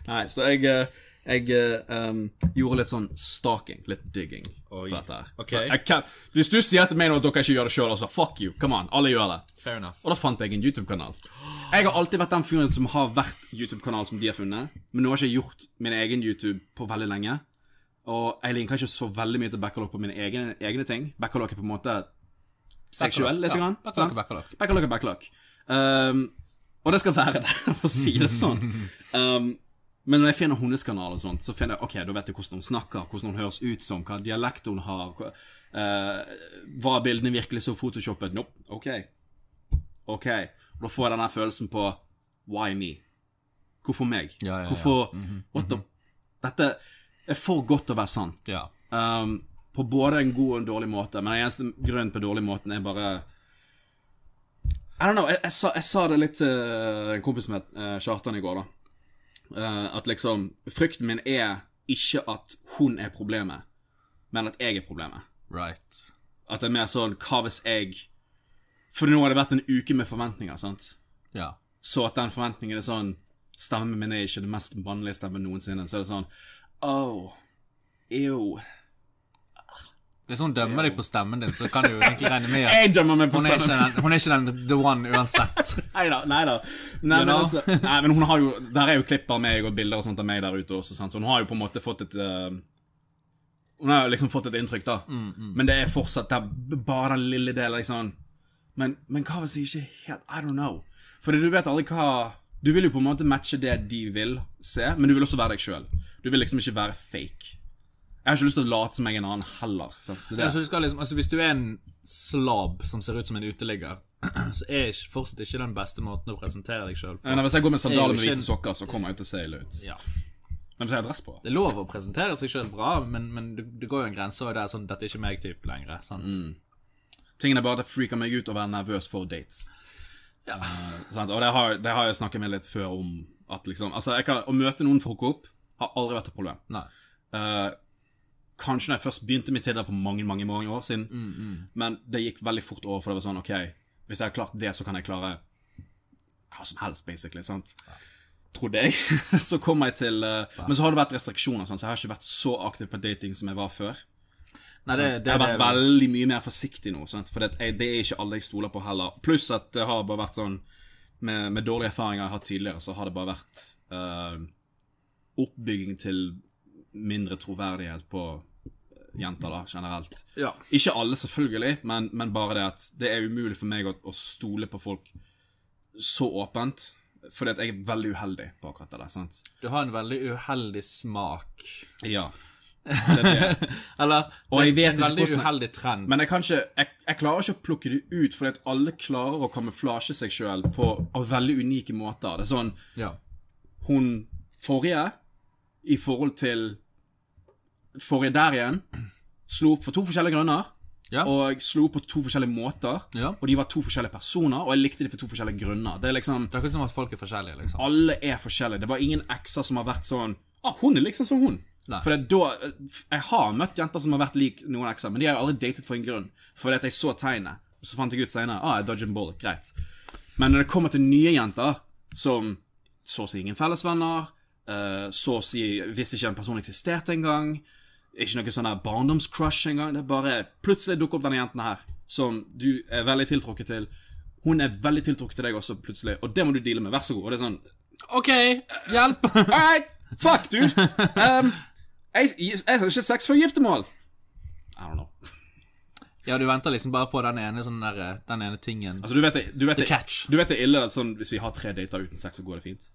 Nei, så jeg, eh, jeg eh, um, gjorde litt sånn stalking, litt digging,
Oi.
for dette her.
Ok.
Så Jeg kan, hvis du sier til meg nå at dere ikke gjør det sjøl, altså fuck you, come on, alle gjør det.
Fair enough.
Og da fant jeg en YouTube-kanal. Jeg har alltid vært den fyren som har hvert YouTube-kanal som de har funnet, men nå har jeg ikke gjort min egen YouTube på veldig lenge. Og jeg linker ikke så veldig mye til backlog på mine egne, egne ting. Backlog er på en måte seksuell, litt.
ja.
grann,
Backlog
sant?
er backlog.
Backlog er backlog. Um, og det skal være det, for å si det sånn. Um, men når jeg finner hennes kanal, og sånt, så finner jeg, ok, da vet jeg hvordan hun snakker, hvordan hun høres ut som, hva dialekt hun har. Hva, eh, var bildene virkelig så photoshoppet? Nope. Ok. Ok. Og da får jeg denne følelsen på Why me? Hvorfor meg?
Ja, Mhm, ja, ja.
Hvorfor What the Dette er for godt til å være sant.
Ja.
Um, på både en god og en dårlig måte. Men den eneste grunnen på dårlig måten er bare I don't know, jeg, jeg, sa, jeg sa det litt til en kompis med uh, Kjartan i går, da. Eh, at liksom Frykten min er ikke at hun er problemet, men at jeg er problemet.
Right.
At det er mer sånn Hva hvis jeg For nå har det vært en uke med forventninger, sant?
Ja.
så at den forventningen er sånn Stemmen min er ikke den mest mannlige stemmen noensinne. Så er det sånn Oh, ew.
Hvis hun dømmer deg på stemmen din, så kan du jo egentlig regne med at
Jeg dømmer meg på
hun er ikke
stemmen!
den, hun er ikke den the one uansett.
Neida, neida. Nei,
You
men
know?
altså, nei, men hun har jo Der er jo klipp av meg og bilder og sånt av meg der ute også, sant? så hun har jo på en måte fått et eh, Hun har jo liksom fått et inntrykk, da. Men det er fortsatt der, b- bare den lille delen, liksom. Men, men hva hvis jeg ikke helt I don't know. For du vet aldri hva Du vil jo på en måte matche det de vil se, men du vil også være deg sjøl. Du vil liksom ikke være fake. Jeg har ikke lyst til å late som jeg er en annen heller. Sant? Det er det.
Ja, så du skal liksom, altså Hvis du er en slabb som ser ut som en uteligger, så er ikke, fortsatt ikke den beste måten å presentere deg sjøl på.
Men hvis jeg går med sandaler med
ikke en-
hvite sokker, så kommer jeg til å se ille ut.
Ja.
Men hvis jeg har dress på
Det er lov å presentere seg sjøl bra, men, men det, det går jo en grense, og det er sånn 'Dette er ikke meg'-type lenger. sant?
Tingen er bare at det freaker meg ut å være nervøs for dates. Eh, sant? Og det har, det har jeg snakket med litt før om. At liksom, altså jeg kan, å møte noen for å hooke opp har aldri vært et problem.
Nei.
Eh, kanskje når jeg først begynte med Tinder for mange mange, mange år siden, men det gikk veldig fort over, for det var sånn OK, hvis jeg har klart det, så kan jeg klare hva som helst, basically. sant? trodde jeg. så kom jeg til eh, Men så har det vært restriksjoner, sånn, så jeg har ikke vært så aktiv på dating som jeg var før.
Nei, det,
sant?
det,
jeg har
det,
vært veldig mye mer forsiktig nå, sant? for det, jeg, det er ikke alle jeg stoler på heller. Pluss at det har bare vært sånn Med, med dårlige erfaringer jeg har hatt tidligere, så har det bare vært eh, oppbygging til mindre troverdighet på eh, jenter, da, generelt.
Ja.
Ikke alle, selvfølgelig, men, men bare det at det er umulig for meg å, å stole på folk så åpent. Fordi at jeg er veldig uheldig på akkurat det der. sant?
du har en veldig uheldig smak.
Ja. Det er det.
Eller
Og jeg vet
en
ikke
veldig
hvordan-
uheldig trend.
Men jeg, kan ikke, jeg, jeg klarer ikke å plukke det ut, fordi at alle klarer å kamuflasje seg sjøl på, på veldig unike måter. Det er sånn
ja.
Hun forrige, i forhold til forrige der igjen, slo opp for to forskjellige grunner.
Ja.
Og slo opp på to forskjellige måter,
Ja.
og de var to forskjellige personer, og jeg likte de for to forskjellige grunner. Det er liksom
Det er akkurat som at folk er forskjellige, liksom.
alle er forskjellige. Det var ingen ekser som har vært sånn ah, 'Hun er liksom som hun'.
Nei.
For det er da, Jeg har møtt jenter som har vært lik noen ekser, men de har jeg aldri datet for en grunn. Fordi at jeg så tegnet, og så fant jeg ut senere ah, jeg dodger en bullet, greit. Men når det kommer til nye jenter som så å si ingen fellesvenner, eh, så å si visste ikke en person eksisterte engang Ikke noe sånn der barndomscrush engang. Det er bare plutselig dukker opp denne jenten her, som du er veldig tiltrukket til. Hun er veldig tiltrukket til deg også, plutselig, og det må du deale med. Vær så god. Og det er sånn
OK, hjelp!
Alright, fuck, dude. Um, jeg, jeg, jeg har ikke sex før giftermål. I don't know.
ja, du venter liksom bare på den ene, sånn der, den ene tingen.
Altså, du vet, det- du vet, det-
catch.
Du vet det er ille at sånn, hvis vi har tre dater uten sex, så går det fint.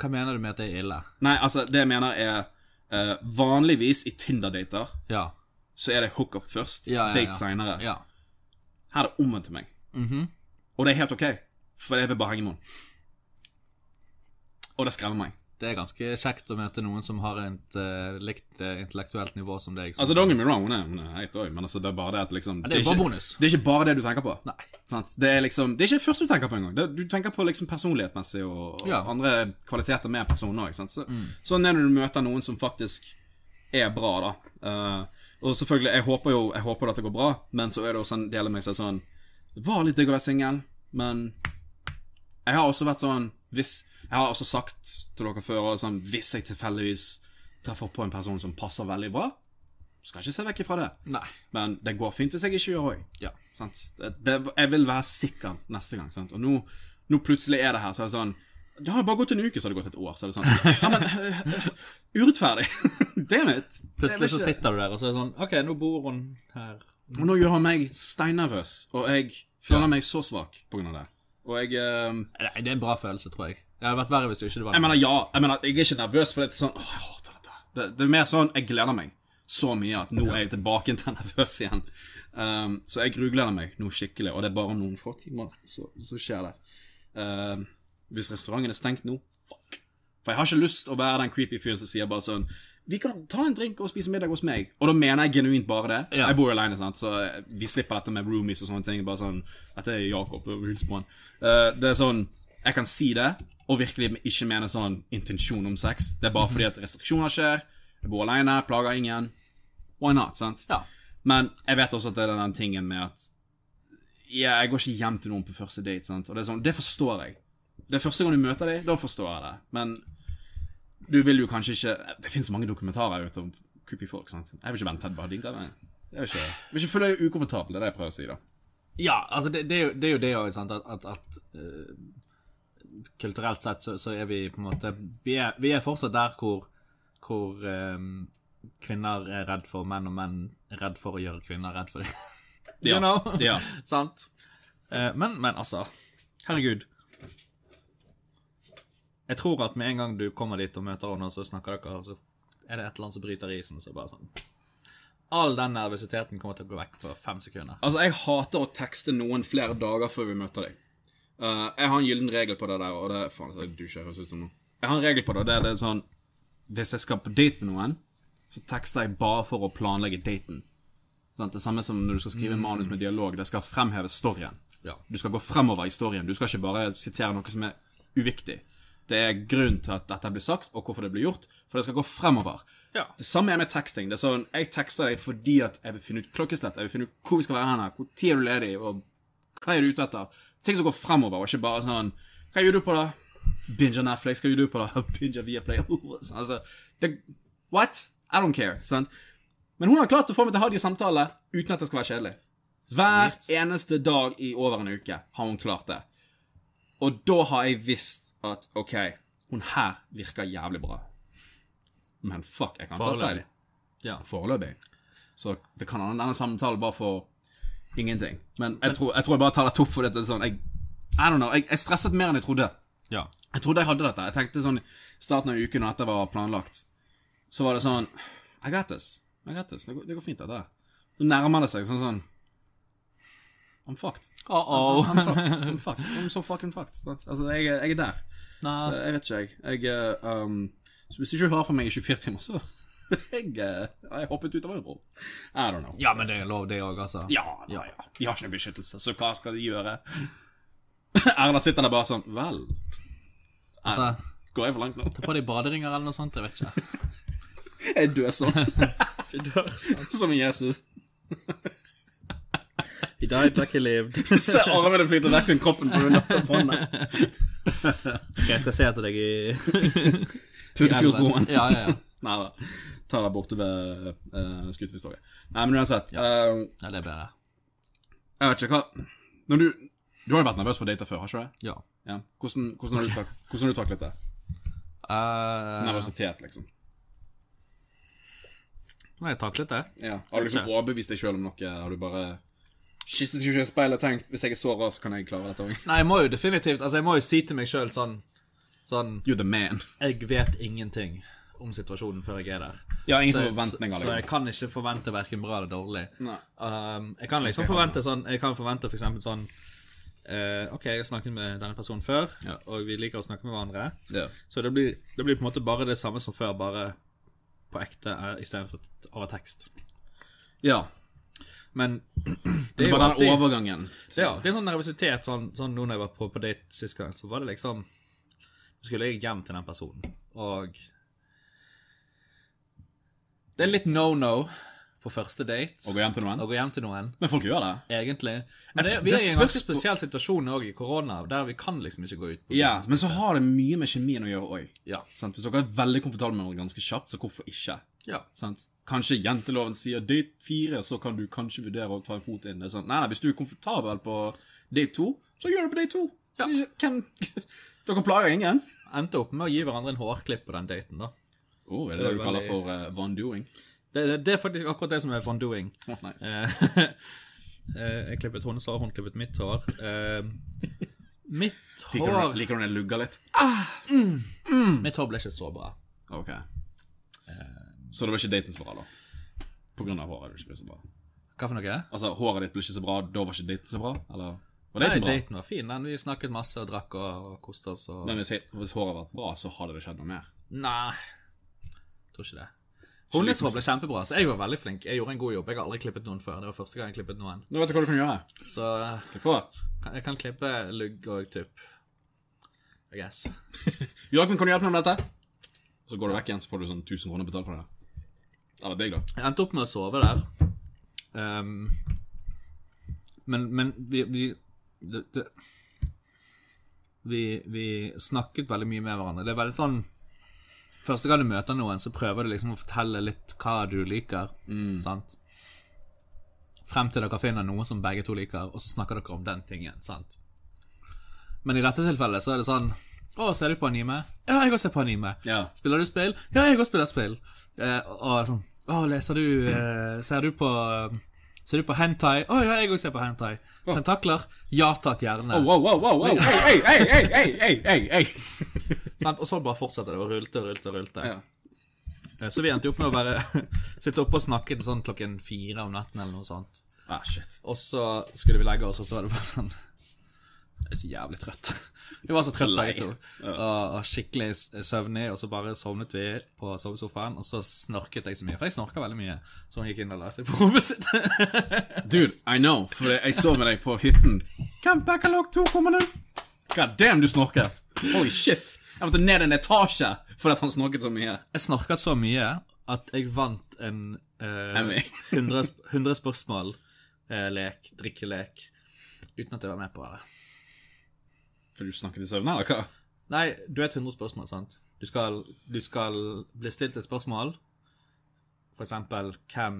Hva mener du med at det er ille?
Nei, altså, det jeg mener er eh, Vanligvis i Tinder-dater
Ja.
så er det hookup først,
Ja, ja, ja.
date seinere.
ja. Mhm.
Her er det omvendt til meg. Og det er helt ok, for jeg vil bare henge med henne. Og det skremmer meg.
Det er ganske kjekt å møte noen som har et eh, likt eh, intellektuelt nivå som deg. Som
Altså, don't get me wrong, hun er, hun er heit også, men altså, det er bare det at liksom
det er bare
ikke,
bonus.
Det er ikke bare det du tenker på.
Nei.
Sant? Det er liksom Det er ikke det første du tenker på engang. Det- Du tenker på liksom personlighetsmessig og, og
Ja.
andre kvaliteter med personen òg. Så, Sånn er det når du møter noen som faktisk er bra, da. Eh, og selvfølgelig, jeg håper jo Jeg håper dette går bra, men så er det også en del av meg som er sånn Det var litt digg å være singel, men jeg har også vært sånn Hvis Jeg har også sagt til dere før og sånn, Hvis jeg tilfeldigvis treffer på en person som passer veldig bra, skal jeg ikke se vekk ifra det.
Nei.
Men det går fint hvis jeg ikke gjør òg.
Ja.
Sant? Det, det- jeg vil være sikker neste gang. Sant? Og nå, nå plutselig er det her, så er det sånn Det har bare gått en uke, så har det gått et år. Så er det sånn Ja, men øh, øh, Urettferdig! Damn it! Det er vel
Plutselig så
ikke-
sitter du der, og så er det sånn OK, nå bor hun her.
Og nå gjør han meg steinnervøs, og jeg føler meg så svak på grunn av det. Og jeg øh,
Nei, det er en bra følelse, tror jeg. Det hadde vært verre hvis du ikke var
Jeg mener ja, jeg mener jeg er ikke nervøs, for det er sånn Åh, jeg hater dette. Det, det er mer sånn jeg gleder meg så mye at nå er jeg tilbake til nervøs igjen. Um, så jeg grugleder meg nå skikkelig, og det er bare om noen få timer så, så skjer det. Um, hvis restauranten er stengt nå, fuck. For jeg har ikke lyst å være den creepy fyren som sier bare sånn Vi kan ta en drink og spise middag hos meg. Og da mener jeg genuint bare det.
Ja.
Jeg bor jo aleine, sant, så vi slipper dette med roomies og sånne ting. Bare sånn Dette er Jakob, og hils på han. Eh, det er sånn Jeg kan si det, og virkelig ikke mene sånn intensjon om sex. Det er bare fordi at restriksjoner skjer. Jeg bor aleine, plager ingen. Why not, sant?
Ja.
Men jeg vet også at det er den tingen med at ja, Jeg går ikke hjem til noen på første date. sant? Og Det er sånn, det forstår jeg. Det er første gang du møter dem, da forstår jeg det. Men du vil jo kanskje ikke Det finnes så mange dokumentarer ute om creepy folk. sant? Jeg vil ikke vente til bare digg det. nei. Jeg vil ikke, jeg vil ikke føle meg ukomfortabel. Det er det jeg prøver å si, da.
Ja, altså det, det, er jo- det er jo det òg, sant, at, at, at eh, Kulturelt sett så, så er vi på en måte Vi er, vi er fortsatt der hvor, hvor eh, kvinner er redd for menn, og menn er redd for å gjøre kvinner redd for dem.
Ja.
You know?
Ja.
Sant? Eh, men, men altså Herregud.
Jeg tror at med en gang du kommer dit og møter henne, og så snakker dere, og så er det et eller annet som bryter isen. Så bare sånn All den nervøsiteten kommer til å gå vekk på fem sekunder.
Altså, jeg hater å tekste noen flere dager før vi møter deg. Eh, jeg har en gyllen regel på det der, og det Faen, det dusjer høres ut som noe. Jeg har en regel på det, og det er- det er sånn Hvis jeg skal på date med noen, så tekster jeg bare for å planlegge daten. Sant? Det samme som når du skal skrive manus med dialog. Det skal fremheve storyen.
Ja.
Du skal gå fremover i storyen. Du skal ikke bare sitere noe som er uviktig. Det er grunnen til at dette blir sagt, og hvorfor det blir gjort, for det skal gå fremover.
Ja.
Det samme er med teksting. Det er sånn, Jeg tekster deg fordi at jeg vil finne ut klokkeslett, jeg vil finne ut hvor vi skal være hen, her, hvor tid er du ledig, og hva er du ute etter? Ting som går fremover, og ikke bare sånn Hva gjør du på det? Binger Netflix, hva gjør du på det? Binger Viaplay. altså, det, what? I don't care. sant? Men hun har klart å få meg til å ha de samtaler uten at det skal være kjedelig. Hver eneste dag i over en uke har hun klart det. Og da har jeg visst at OK, hun her virker jævlig bra. Men fuck, jeg kan ta feil.
Foreløpig. Ja.
Foreløpig. Så det kan hende denne samtalen bare for ingenting. Men jeg tror jeg, tror jeg bare tar det opp fordi at det er sånn jeg, I don't know, jeg, jeg stresset mer enn jeg trodde.
Ja.
Jeg trodde jeg hadde dette. Jeg tenkte sånn starten av uken og etter var planlagt, så var det sånn I got this. I got this. Det går, det går fint, dette her. Så nærmer det seg sånn sånn I'm fucked.
Uh-oh.
I'm fucked. I'm fucked. I'm so fucking fucked. Sant? Altså, jeg, er- jeg er der. Så jeg vet ikke, jeg. jeg eh, um, så hvis du ikke hører fra meg i 24 timer, så jeg, eh, har jeg hoppet ut av en bro. I don't know.
Ja, men det er lov, det òg, altså.
Ja, ja, ja. De har ikke noe beskyttelse, så hva skal de gjøre? Erna sitter der bare sånn Vel,
Altså,
går jeg for langt nå?
på deg baderinger eller noe sånt, jeg vet ikke.
Jeg dør sånn. Som Jesus.
He died like he lived.
Se armene flyter vekk med kroppen på under båndet.
jeg skal se etter deg i
Puddefjordbroen.
Ja, ja, ja.
Nei da. Ta deg borte ved uh, Skutefisktorget. Nei, men uansett. eh,
ja det er bedre.
jeg vet ikke hva Når du Du har jo vært nervøs for dater før, har ikke du det?
Ja.
Ja. Hvordan, hvordan, har du tak, hvordan har du taklet det?
Eh,
Nervøsitet, liksom.
Nå har jeg taklet det.
Ja. Har du liksom overbevist deg sjøl om noe? Har du bare kysset ikke i speilet og tenkt hvis jeg er så rar, så kan jeg klare dette òg?
Nei, jeg må jo definitivt Altså, jeg må jo si til meg sjøl sånn Sånn
You're the man.
Jeg vet ingenting om situasjonen før jeg er der.
Ja, ingen
Så-
forventninger,
Så, så jeg
liksom.
kan ikke forvente verken bra eller dårlig.
Nei.
Um, jeg kan liksom forvente sånn Jeg kan forvente for eksempel sånn eh, Ok, jeg har snakket med denne personen før,
Ja.
og vi liker å snakke med hverandre.
Ja.
Så det blir, det blir på en måte bare det samme som før, bare på ekte eh, i stedet for t- over tekst.
ja.
Men
Det
er jo
var den
alltid-
overgangen.
det er alltid en sånn nervøsitet. Sånn, sånn nå når jeg var på, på date sist gang, så var det liksom Nå skulle jeg hjem til den personen, og Det er litt no-no på første date
Å gå hjem til noen.
å gå hjem til noen,
Men folk gjør det.
egentlig. Men det,
tror-
vi er
det
i en ganske
spørs på-
spesiell situasjon òg i korona, der vi kan liksom ikke gå ut. På
Ja, men så har det mye med kjemien å gjøre òg.
Ja.
Hvis dere er veldig komfortable med hverandre ganske kjapt, så hvorfor ikke?
Ja.
Sant? Kanskje jenteloven sier date fire, så kan du kanskje vurdere å ta en fot inn. Det er sånn, nei, nei, Hvis du er komfortabel på date to, så gjør du på date to.
Ja.
Det er ikke- Hvem, dere plager ingen.
Endte opp med å gi hverandre en hårklipp på den daten, da.
Oh, er det det du
veldig-
kaller for uh, vandoing?
Det, det, det er faktisk akkurat det som er von doing.
Oh, nice.
Eh, eh, jeg klippet hennes hår, hun klippet mitt hår. Eh, mitt
liker, du,
hår
liker du når jeg lugger litt?
Mitt hår ble ikke så bra.
Ok. Så det var ikke daten som var bra, da? På grunn av håret? Det ble ikke så bra.
Hva for noe?
Altså, Håret ditt ble ikke så bra, da var ikke daten så bra? Eller var
Nei,
daten bra?
daten var fin. Den. Vi snakket masse og drakk og, og koste oss og
Men hvis, hvis håret hadde vært bra, så hadde det skjedd noe mer.
Nei, jeg tror ikke det. Hennes hår ble kjempebra, så jeg var veldig flink. Jeg gjorde en god jobb. Jeg har aldri klippet noen før. Det var første gang jeg klippet noen.
Nå vet du hva du kan gjøre.
Så eh,
Klipp på.
kan- jeg kan klippe lugg og tupp. I guess.
Jørgen, kan du hjelpe meg med dette? Så går du vekk igjen, så får du sånn 1000 kroner betalt for det. Eller deg, da.
Jeg endte opp med å sove der. Ehm, men, men vi, vi det, det, vi, vi snakket veldig mye med hverandre. Det er veldig sånn Første gang du møter noen, så prøver du liksom å fortelle litt hva du liker. Sant? Frem til dere finner noe som begge to liker, og så snakker dere om den tingen. sant? Men i dette tilfellet så er det sånn Å, ser du på anime? Ja, jeg også ser på anime.
Ja.
Spiller du spill? Ja, jeg også spiller spill. Eh, og- og sånn Å, leser du eh, Ser du på eh, Ser du på hentai? Å ja, jeg også ser på hentai. Tentakler? Ja takk, gjerne.
Wow, wow, wow, wow. Hei, hei, hei, hei, hei, hei, hei.
Sant? Og så bare fortsetter det å rulte og rulte og rulte.
Ja.
Eh, Så vi endte jo opp med å være sitte oppe og snakke til sånn klokken fire om natten eller noe sånt.
Ah, shit.
Og så skulle vi legge oss, og så var det bare sånn Jeg er så jævlig trøtt. Vi var så trøtte begge to. Og, og skikkelig s- søvnig, og så bare sovnet vi på sovesofaen, og så snorket jeg så mye. For jeg snorker veldig mye. Så hun gikk inn og la seg på rommet sitt.
Dude, I know, for jeg så med deg på hytten. Camp Backlog 2 kommer nå. God damn, du snorket. Holy shit. Jeg måtte ned en etasje fordi at han snorket så mye.
Jeg snorket så mye at jeg vant en eh,
Emmy.
100, sp- eh, 100 spørsmål-lek, drikkelek, uten at jeg var med på det.
Fordi du snakket i søvne, eller hva?
Nei, du vet 100 spørsmål, sant? Du skal, du skal bli stilt et spørsmål. For eksempel hvem,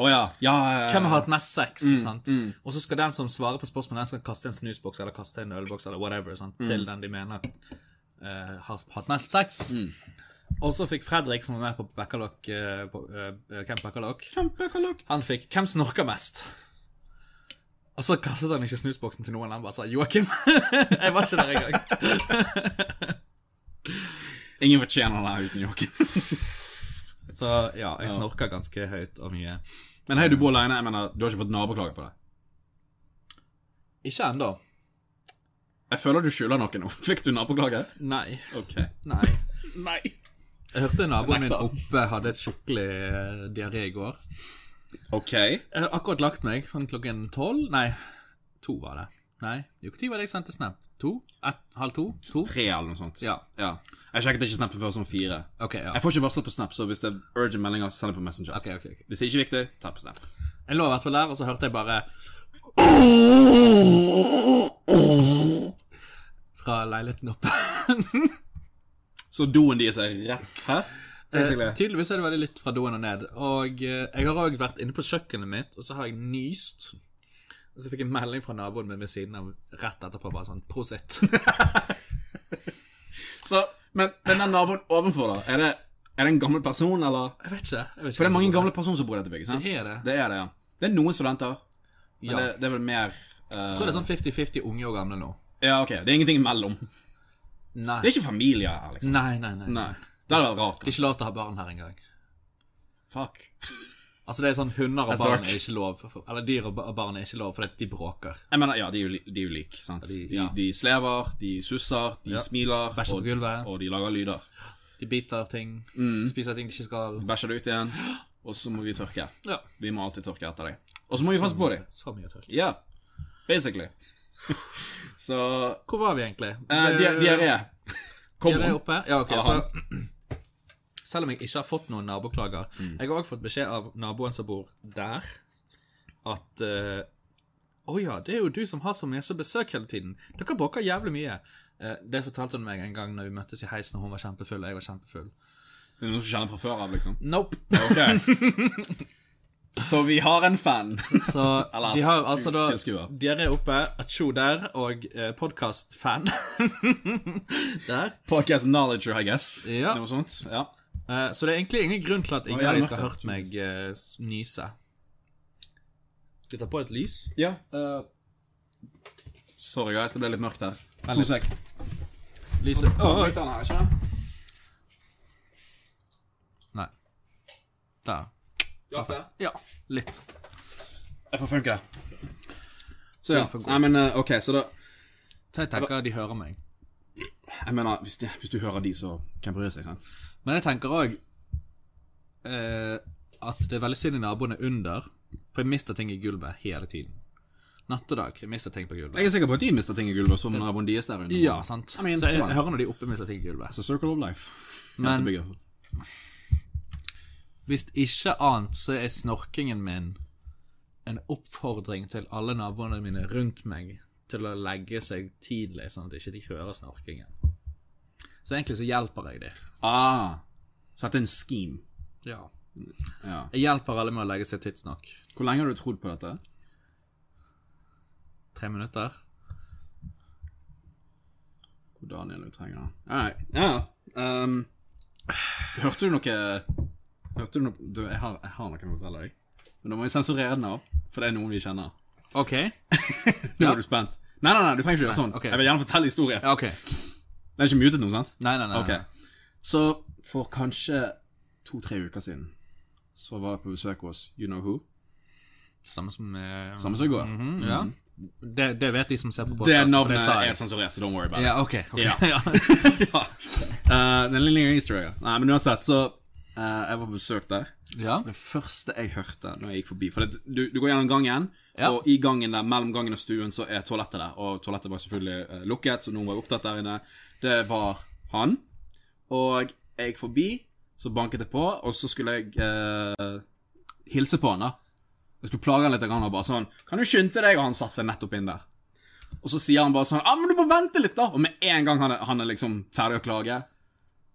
Å ja. Ja, ja, ja. Mm,
hvem har hatt mest sex? sant? Og så skal den som svarer på spørsmålet, den skal kaste en snusboks eller kaste en ølboks eller whatever sant?
Mm.
til den de mener eh, har hatt mest sex.
Mm.
Og så fikk Fredrik, som var med på Backalock, eh, på, eh, Camp Backalock
Kjempekalok.
Han fikk 'Hvem snorker mest?' Og så kastet han ikke snusboksen til noen, han bare sa 'Joakim'. jeg var ikke der engang.
Ingen fortjener det her uten Joakim.
Så ja, jeg snorker ganske høyt og mye.
Men hei, du bor alene. Jeg mener, du har ikke fått naboklager på det?
Ikke ennå.
Jeg føler du skylder noe nå. Fikk du naboklage?
Nei.
Ok.
Nei.
Nei.
Jeg hørte naboen min
Nekta.
oppe hadde et skikkelig eh, diaré i går.
Ok.
Jeg hadde akkurat lagt meg, sånn klokken tolv Nei, to var det. Nei, jo, når var det jeg sendte snap? To? Et, halv to? To?
Tre eller noe sånt.
Ja.
Jeg sjekket ikke snappen før som fire.
Ok, ja.
Jeg får ikke varsel på Snap, så hvis det er urgent meldinger, så send det på Messenger.
Ok, ok, ok.
Hvis det ikke er viktig, ta på Snap.
Jeg lå i hvert fall der, og så hørte jeg bare Fra leiligheten oppe.
Så doen deres er rett her?
Eh, Tydeligvis er det veldig lytt fra doen og ned. Og eh, jeg har òg vært inne på kjøkkenet mitt, og så har jeg nyst. Og så fikk jeg melding fra naboen min ved siden av rett etterpå, bare sånn 'prosit'. Eh,
Så, men men den naboen ovenfor, da? Er det, er det en gammel person, eller?
Jeg vet ikke. jeg vet ikke
For det er mange gamle personer som bor i dette bygget, sant?
Det er det.
Det er det, ja. Det er noen studenter, men
Ja.
det, det er vel mer eh,
Jeg tror det er sånn 50-50 unge og gamle nå.
Ja, ok. Det er ingenting imellom. Det
Nei.
er ikke familie her, liksom.
Nei, nei, nei.
Nei. Det hadde vært rart.
Det er ikke lov til å ha barn her engang.
Fuck.
Altså, det er sånn hunder og
That's
barn
dark.
er ikke lov. for- Eller dyr og ba- og barn er ikke lov fordi at de bråker.
Jeg mener, ja, de er jo, li- de er jo like, sant? De,
de- ja.
de slever, de susser, de smiler,
Bæsjer på
og,
gulvet.
og Mm. de lager lyder.
De biter ting. Spiser ting de ikke skal.
Bæsjer det ut igjen, og så må vi tørke.
Ja.
Vi må alltid tørke etter deg. Og så må vi passe på dem.
Så mye tørk.
Ja. Basically. så
Hvor var vi egentlig?
eh, di Diaré. Kom
Dere er
om.
oppe? Ja, ok,
Eller
så Selv om jeg ikke har fått noen naboklager Jeg har også fått beskjed av naboen som bor der At eh, Å ja, det er jo du som har så masse besøk hele tiden Dere bråker jævlig mye Eh, Det fortalte hun meg en gang når vi møttes i heisen Og hun var kjempefull, og jeg var kjempefull
Det er noen som kjenner fra før av, liksom.
Nope
Ok. så vi har en fan.
Så
Alas,
vi har altså
du
da
tilskuer.
Dere er oppe, Atsjo der Og eh, podcast-fan Der
Podcast knowledge, I guess.
Ja.
Noe sånt. Ja.
Eh, Så det er egentlig ingen grunn til at ingen
ja,
av
det
de
er
skal ha
mørkt
hørt meg eh, s- nyse. Skal vi ta på et lys?
ja eh, Sorry, guys. Det ble litt mørkt her. To sek.
Lyset Å,
Litt annet her, ikke sant?
Nei. Der.
Ja, det.
Ja, litt.
Jeg får funke det. Så ja.
Det får gå.
Nei, men eh, ok, så da
Så jeg tenker de hører meg.
Jeg mener, hvis, de, hvis du hører de, så hvem bryr seg, sant?
Men jeg tenker òg eh, at det er veldig synd i naboene under, for jeg mister ting i gulvet hele tiden. Natt og dag. Jeg mister ting på gulvet.
Jeg er sikker på at de mister ting i gulvet, som naboen deres der inne.
Ja, sant.
I mean,
så jeg,
come on.
jeg hører når de er oppe mister ting i gulvet.
It's a circle of life. Dette
Men-
bygget.
Hvis ikke annet så er snorkingen min en oppfordring til alle naboene mine rundt meg til å legge seg tidlig, sånn at ikke de hører snorkingen. Så egentlig så hjelper jeg dem.
Ah, så dette er en scheme.
Ja.
Ja.
Jeg hjelper alle med å legge seg tidsnok.
Hvor lenge har du trodd på dette?
Tre minutter.
Hvor Daniel du trenger det. Alright, ja. Um, hørte du noe... Hørte du noe... Du, jeg har, jeg har noe jeg må fortelle deg. Men da må vi sensurere den av, for det er noen vi kjenner.
OK.
Nå er du spent. Nei, nei, nei, du trenger ikke gjøre sånn.
ok.
Jeg vil gjerne fortelle historien.
Ja, ok.
Det er ikke mutet noe, sant?
Nei, nei, nei. nei.
Ok. Så for kanskje to-tre uker siden, så var jeg på besøk hos You Know Who.
Samme som eh,
Samme som i går. Mm.
Ja. Det, det vet de som ser på
Det
podcasten, for
navnet
sa jeg.
er sensurert, så don't worry about it.
Ja, OK. ok.
Ja. ja. Eh, den lille easter eggen. Nei, men uansett, så eh, Jeg var på besøk der.
ja.
Det første jeg hørte når jeg gikk forbi For det, du, du går gjennom gangen,
Ja.
og i gangen der, mellom gangen og stuen så er toalettet der. Og toalettet var selvfølgelig eh, lukket, så noen var opptatt der inne. Det var han. Og jeg gikk forbi, så banket jeg på, og så skulle jeg eh, hilse på han. da Jeg skulle plage han litt, og han var bare sånn 'Kan du skynde deg?' Og han satte seg nettopp inn der. Og så sier han bare sånn ah, men du må vente litt, da! Og med en gang han er, han er liksom ferdig å klage,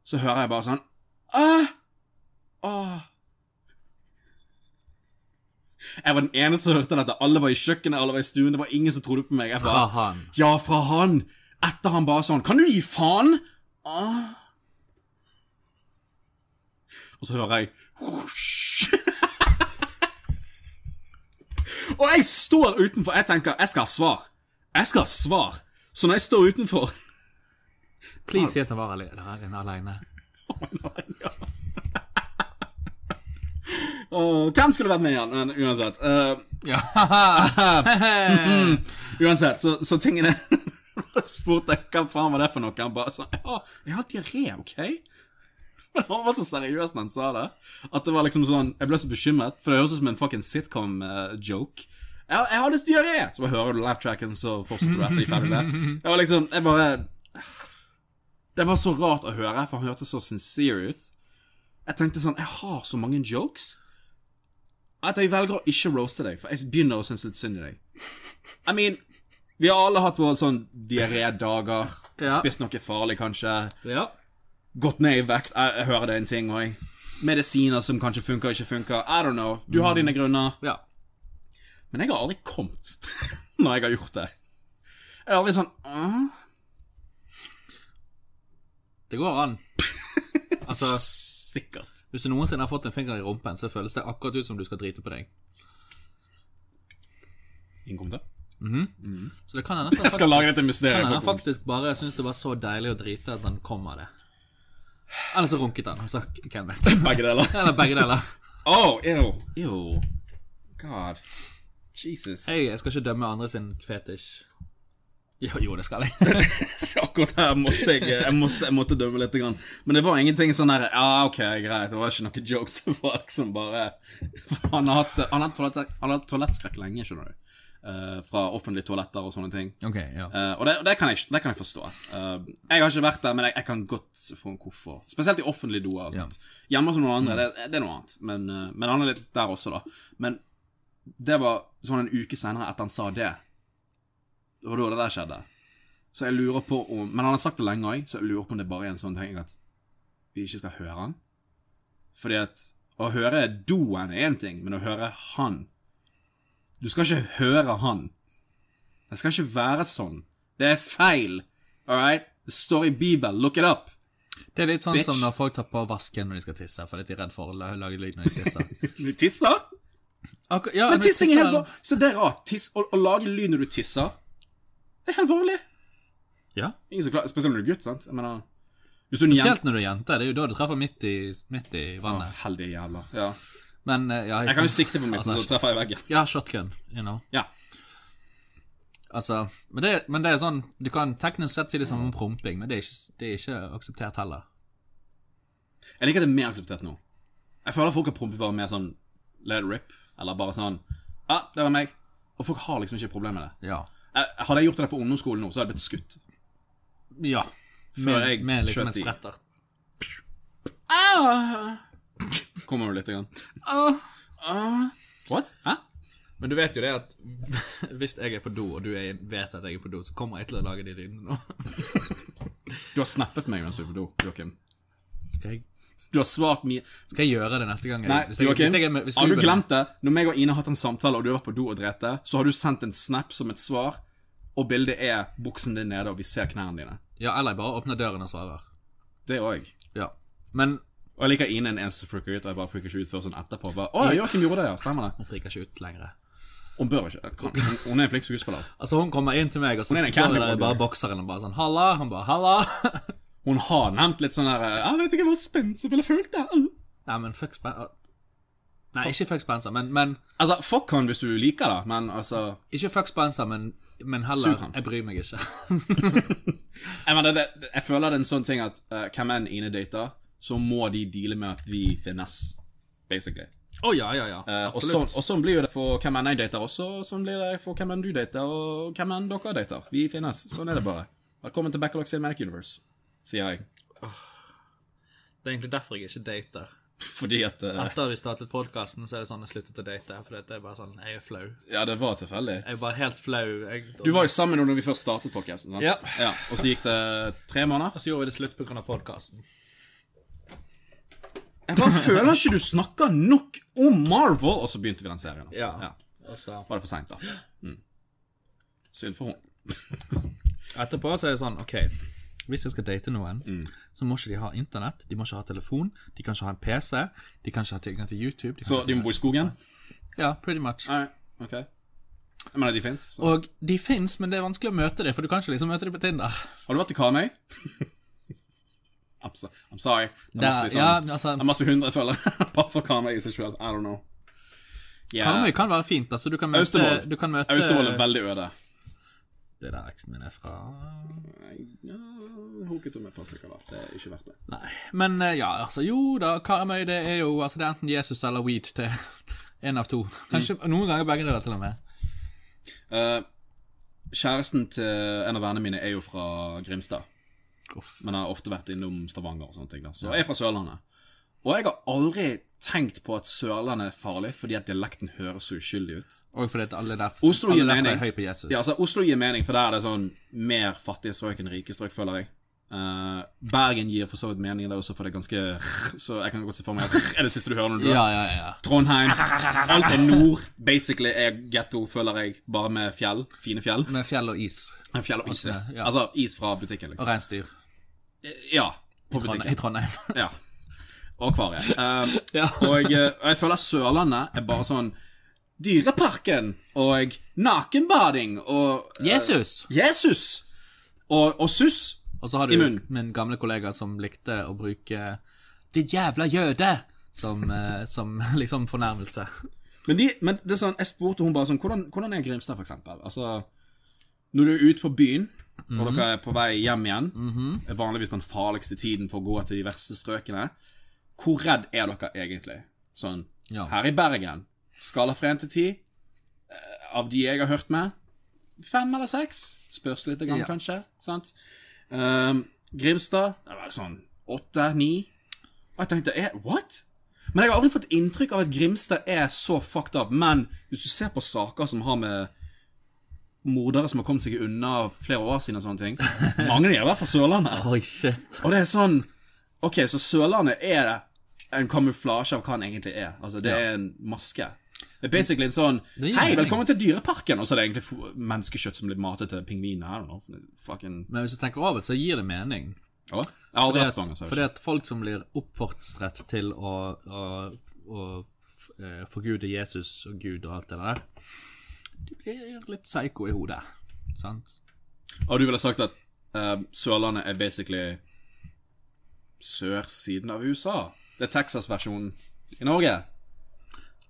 så hører jeg bare sånn ah, ah. Jeg var den eneste som hørte dette. Alle var i kjøkkenet, alle var i stuen. Det var ingen som trodde på meg. Jeg
Fra
bare,
han.
ja, fra han! Etter han bare sånn Kan du gi faen?! Ah. Og så hører jeg «Husj!» Og jeg står utenfor. Jeg tenker jeg skal ha svar. Jeg skal ha svar. Så når jeg står utenfor
Please si at han var ale- der inne alene.
Åh, Hvem skulle vært med igjen? Men uansett. eh,
Ja.
uansett, så, så tingene Da spurte jeg hva faen var det for noe. Han bare sånn Ja, jeg har diaré, OK? Men han var så seriøs når han sa det, at det var liksom sånn Jeg ble så bekymret, for det høres ut som en fucking sitcom-joke. jeg, jeg hadde diaré! Så bare hører du laugh-tracken, så fortsetter du etter de ferdig med. Jeg var liksom Jeg bare Det var så rart å høre, for han hørtes så sincere ut. Jeg tenkte sånn Jeg har så mange jokes. At jeg velger å ikke roaste deg, for jeg begynner å synes litt synd i deg. I mean, vi har alle hatt våre sånn diaré-dager,
Ja.
spist noe farlig kanskje,
ja.
gått ned i vekt, jeg, jeg hører det er en ting òg. Medisiner som kanskje funker, ikke funker, I don't know. Du har dine grunner.
ja.
Men jeg har aldri kommet når jeg har gjort det. Jeg har aldri sånn «Åh,
Det går an. Altså,
Sikkert.
hvis du noensinne har fått en finger i rumpen, så føles det akkurat ut som du skal drite på deg.
Ingen kommentar?
Så det kan hende at
Jeg
han
skal lage dette mysteriet.
faktisk,
folkens.
faktisk bare syntes det var så deilig å drite at han kom av det. Eller så runket han, altså. Hvem vet?
Begge deler.
Eller begge deler.
Oh, ew. Ew. God. Jesus.
Jeg, jeg skal ikke dømme andre sin fetisj. Jo, jo, det skal jeg.
Så akkurat her måtte jeg, jeg, måtte, jeg måtte dømme litt. Grann. Men det var ingenting sånn her Ja, ok, greit. Det var ikke noen jokes. Det var liksom bare for Han har hatt, han har hatt, toalett, han har hatt toalettskrekk lenge, skjønner du. Eh, fra offentlige toaletter og sånne ting.
ok, ja.
Eh, og det, og det, kan jeg, det kan jeg forstå. Eh, jeg har ikke vært der, men jeg, jeg kan godt få en hvorfor. Spesielt i offentlige doer. og sånt. Hjemme hos noen andre, det, det er noe annet. Men, eh, men han er litt der også, da. Men det var sånn en uke senere etter han sa det. Det var da det der skjedde. Så jeg lurer på om Men han har sagt det lenge òg, så jeg lurer på om det bare er en sånn ting at vi ikke skal høre han. Fordi at å høre doen er én ting, men å høre han Du skal ikke høre han. Det skal ikke være sånn. Det er feil. All right? Det står i Bibelen. Look it up.
Det er litt sånn som
Bitch.
når folk tar på vasken når de skal tisse, fordi de er redd for å la- lage lyd når de tisser.
Du tisser?
Akkur ja,
Men
når
tissing er
tisser-
helt vanlig. Så det er rart. Tiss, å, å lage lyd når du tisser, det er helt vanlig.
Ja,
Ingen som klarer, Spesielt når du er gutt, sant? Jeg mener, hvis du er en jente
Spesielt når du er jente. Det er jo da du treffer midt i, midt i vannet.
Heldige jævla. Ja.
Men eh, ja,
Jeg kan jo sikte på midten,
Altså,
så treffer jeg veggen.
Ja, shotgun, you know.
Ja.
Altså, men det, men det er sånn Du kan teknisk sett si det som om promping, men det er ikke, det er ikke akseptert heller.
Jeg liker at det er mer akseptert nå. Jeg føler folk har prompet bare mer sånn let it rip, eller bare sånn Ja, ah, det var meg. Og folk har liksom ikke problemer med det.
Ja.
Jeg, hadde jeg gjort det på ungdomsskolen nå, så hadde jeg blitt skutt.
ja.
Før
Med,
jeg
med liksom en
skjøt i.
spretter. Ah!
Kommer du litt Ah. igjen? What? Hæ?
Men du vet jo det at hvis jeg er på do, og du er, vet at jeg er på do, så kommer jeg til å lage de lydene nå.
Du har snappet meg mens du er på do, Joakim.
Skal jeg,
Du har svart mye
skal jeg gjøre det neste gang? Jeg,
Nei,
hvis jeg,
Joakim,
hvis jeg er med- hvis
har du
Ruben-
glemt det? Når meg og Ine har hatt en samtale, og du har vært på do og drept deg, så har du sendt en snap som et svar, og bildet er buksen din nede, og vi ser knærne dine.
Ja, eller jeg bare åpner døren og svarer.
Det òg.
Ja. Men
Og jeg liker Ine en eneste som freaker ut, og jeg bare freaker ikke ut før sånn etterpå. Bare, Å, Joakim gjorde det, ja. Stemmer det.
hun friker ikke ut lenger.
Hun bør ikke. Kan. Hun, hun er en flink skuespiller.
Altså, hun kommer inn til meg, og så
Hun er en
står det
Candyman,
der bare
du.
bokseren og bare sånn 'Halla!' Han bare 'Halla!'
Hun har nevnt litt sånn der Jeg vet ikke hvor spennsel ville følt det. Mm.
Nei, men fuck Spencer Nei, ikke fuck Spencer, men, men
Altså, fuck han hvis du liker det, men altså
Ikke fuck Spencer, men, men
Sug
heller
han.
Jeg bryr meg ikke.
Jeg, mener, det, det, jeg føler det er en sånn ting at eh, hvem enn Ine dater, så må de deale med at vi finnes, basically.
Å ja, ja, ja.
Eh, og, sånn,
Absolutt.
og sånn blir jo det for hvem enn jeg dater også, og sånn blir det for hvem enn du dater, og hvem enn dere dater. Vi finnes. Sånn er det bare. Velkommen til Backlog Cinematic Universe, sier jeg.
Det er egentlig derfor jeg ikke dater.
Fordi at eh,
Etter vi startet podkasten, så er det sånn jeg sluttet å date. For det er bare sånn, jeg er flau.
Ja, det var tilfeldig.
Jeg er bare helt flau. Jeg,
Du var jo sammen når vi først startet podcasten, sant?
Ja.
Og så gikk det tre måneder.
Og så gjorde vi det slutt pga. podkasten.
Jeg bare føler ikke du snakker nok om Marvel! Og så begynte vi den serien. Altså.
Ja. Og så
Var det for seint, da? Mm. Synd for hun.
etterpå så er det sånn, OK. Hvis jeg skal date noen,
Mm.
så må ikke de ha internett, de må ikke ha telefon, de kan ikke ha en PC, de kan ikke ha tilgang til YouTube. De kan
Så
ikke-
de må bo i skogen?
ja, pretty much.
Nei, ok. Jeg mener, de fins.
Og de fins, men det er vanskelig å møte dem, for du kan ikke liksom møte dem på Tinder.
Har du vært i Karmøy? I'm, so, I'm sorry. Det
Der,
must be
ja,
sånn.
altså,
Det must be 100 følgere bare for Karmøy i seg sjøl. I don't know. Yeah.
Karmøy kan være fint. altså Du kan møte,
Eh, Austevoll.
du kan møte
Austevoll er veldig øde.
Det der eksen min er fra
Ja, Hoket hun med plastikaller. Det er ikke verdt det.
Nei, men eh, ja, altså jo da, Karmøy det er jo altså, det er enten Jesus eller weed til en av to. Kanskje
Mm.
noen ganger begge deler til og med.
Eh, kjæresten til en av vennene mine er jo fra Grimstad.
Uff.
Men har ofte vært innom Stavanger og sånne ting. Da. Så jeg er fra Sørlandet. Og jeg har aldri tenkt på at Sørlandet er farlig, fordi at dialekten høres så uskyldig ut.
Og fordi at alle der
Oslo gir
alle derfra
mening.
er høy på Jesus.
Ja, altså Oslo gir mening, for der er det sånn mer fattige strøk enn rike strøk, føler jeg. Eh, Bergen gir for så vidt mening der også, for det er ganske Så jeg kan godt se for meg at er det siste du hører når du dør.
ja, ja, ja.
Trondheim. Alt er nord. Basically er getto, føler jeg, bare med fjell. Fine fjell.
Med fjell og is.
Fjell og is. ja.
ja.
Altså is fra butikken,
Og
liksom.
reinsdyr.
Ja. På
Trondheim- I
butikken.
Trondheim.
Ja. Og akvariet. Eh,
ja.
og eh, og jeg føler Sørlandet er bare sånn Dyreparken og nakenbading og eh,
Jesus!
Jesus! Og, og sus.
Og så har
I
du
munnen.
min gamle kollega som likte å bruke 'det jævla jøde' som, eh, som liksom fornærmelse.
Men, de, men det er sånn, jeg spurte hun bare sånn Hvordan, hvordan er Grimstad, for eksempel? Altså, når du er ute på byen,
Mhm.
og dere er på vei hjem igjen, er vanligvis den farligste tiden for å gå til de verste strøkene. Hvor redd er dere egentlig? Sånn
Ja.
her i Bergen, skala fra én til ti, eh, av de jeg har hørt med, fem eller seks? Spørs litt, grann,
Ja.
kanskje. Sant? Ehm, Grimstad, det var sånn åtte, ni. Og jeg tenkte, er, what? Men jeg har aldri fått inntrykk av at Grimstad er så fucked up. Men hvis du ser på saker som har med mordere som har kommet seg unna flere år siden og sånne ting Mange av de er i hvert fall Sørlandet.
Oi, shit.
Og det er sånn Ok, så Sørlandet er en kamuflasje av hva den egentlig er. Altså, det er en maske. Det er basically en sånn
Det gir
Hei,
mening.
velkommen til Dyreparken! Og så er det egentlig fo- menneskekjøtt som blir matet til pingviner. I don't know. Fucking
Men hvis du tenker over det, så gir det mening.
Å, Jeg har aldri vært
Fordi
stanger,
at,
så jeg
fordi
vet ikke.
at folk som blir oppfordret til å, å, å eh, forgude Jesus og Gud og alt det der, de blir litt psycho i hodet. Sant?
Og du ville sagt at eh, Sørlandet er basically sørsiden av USA. Det er Texas-versjonen i Norge.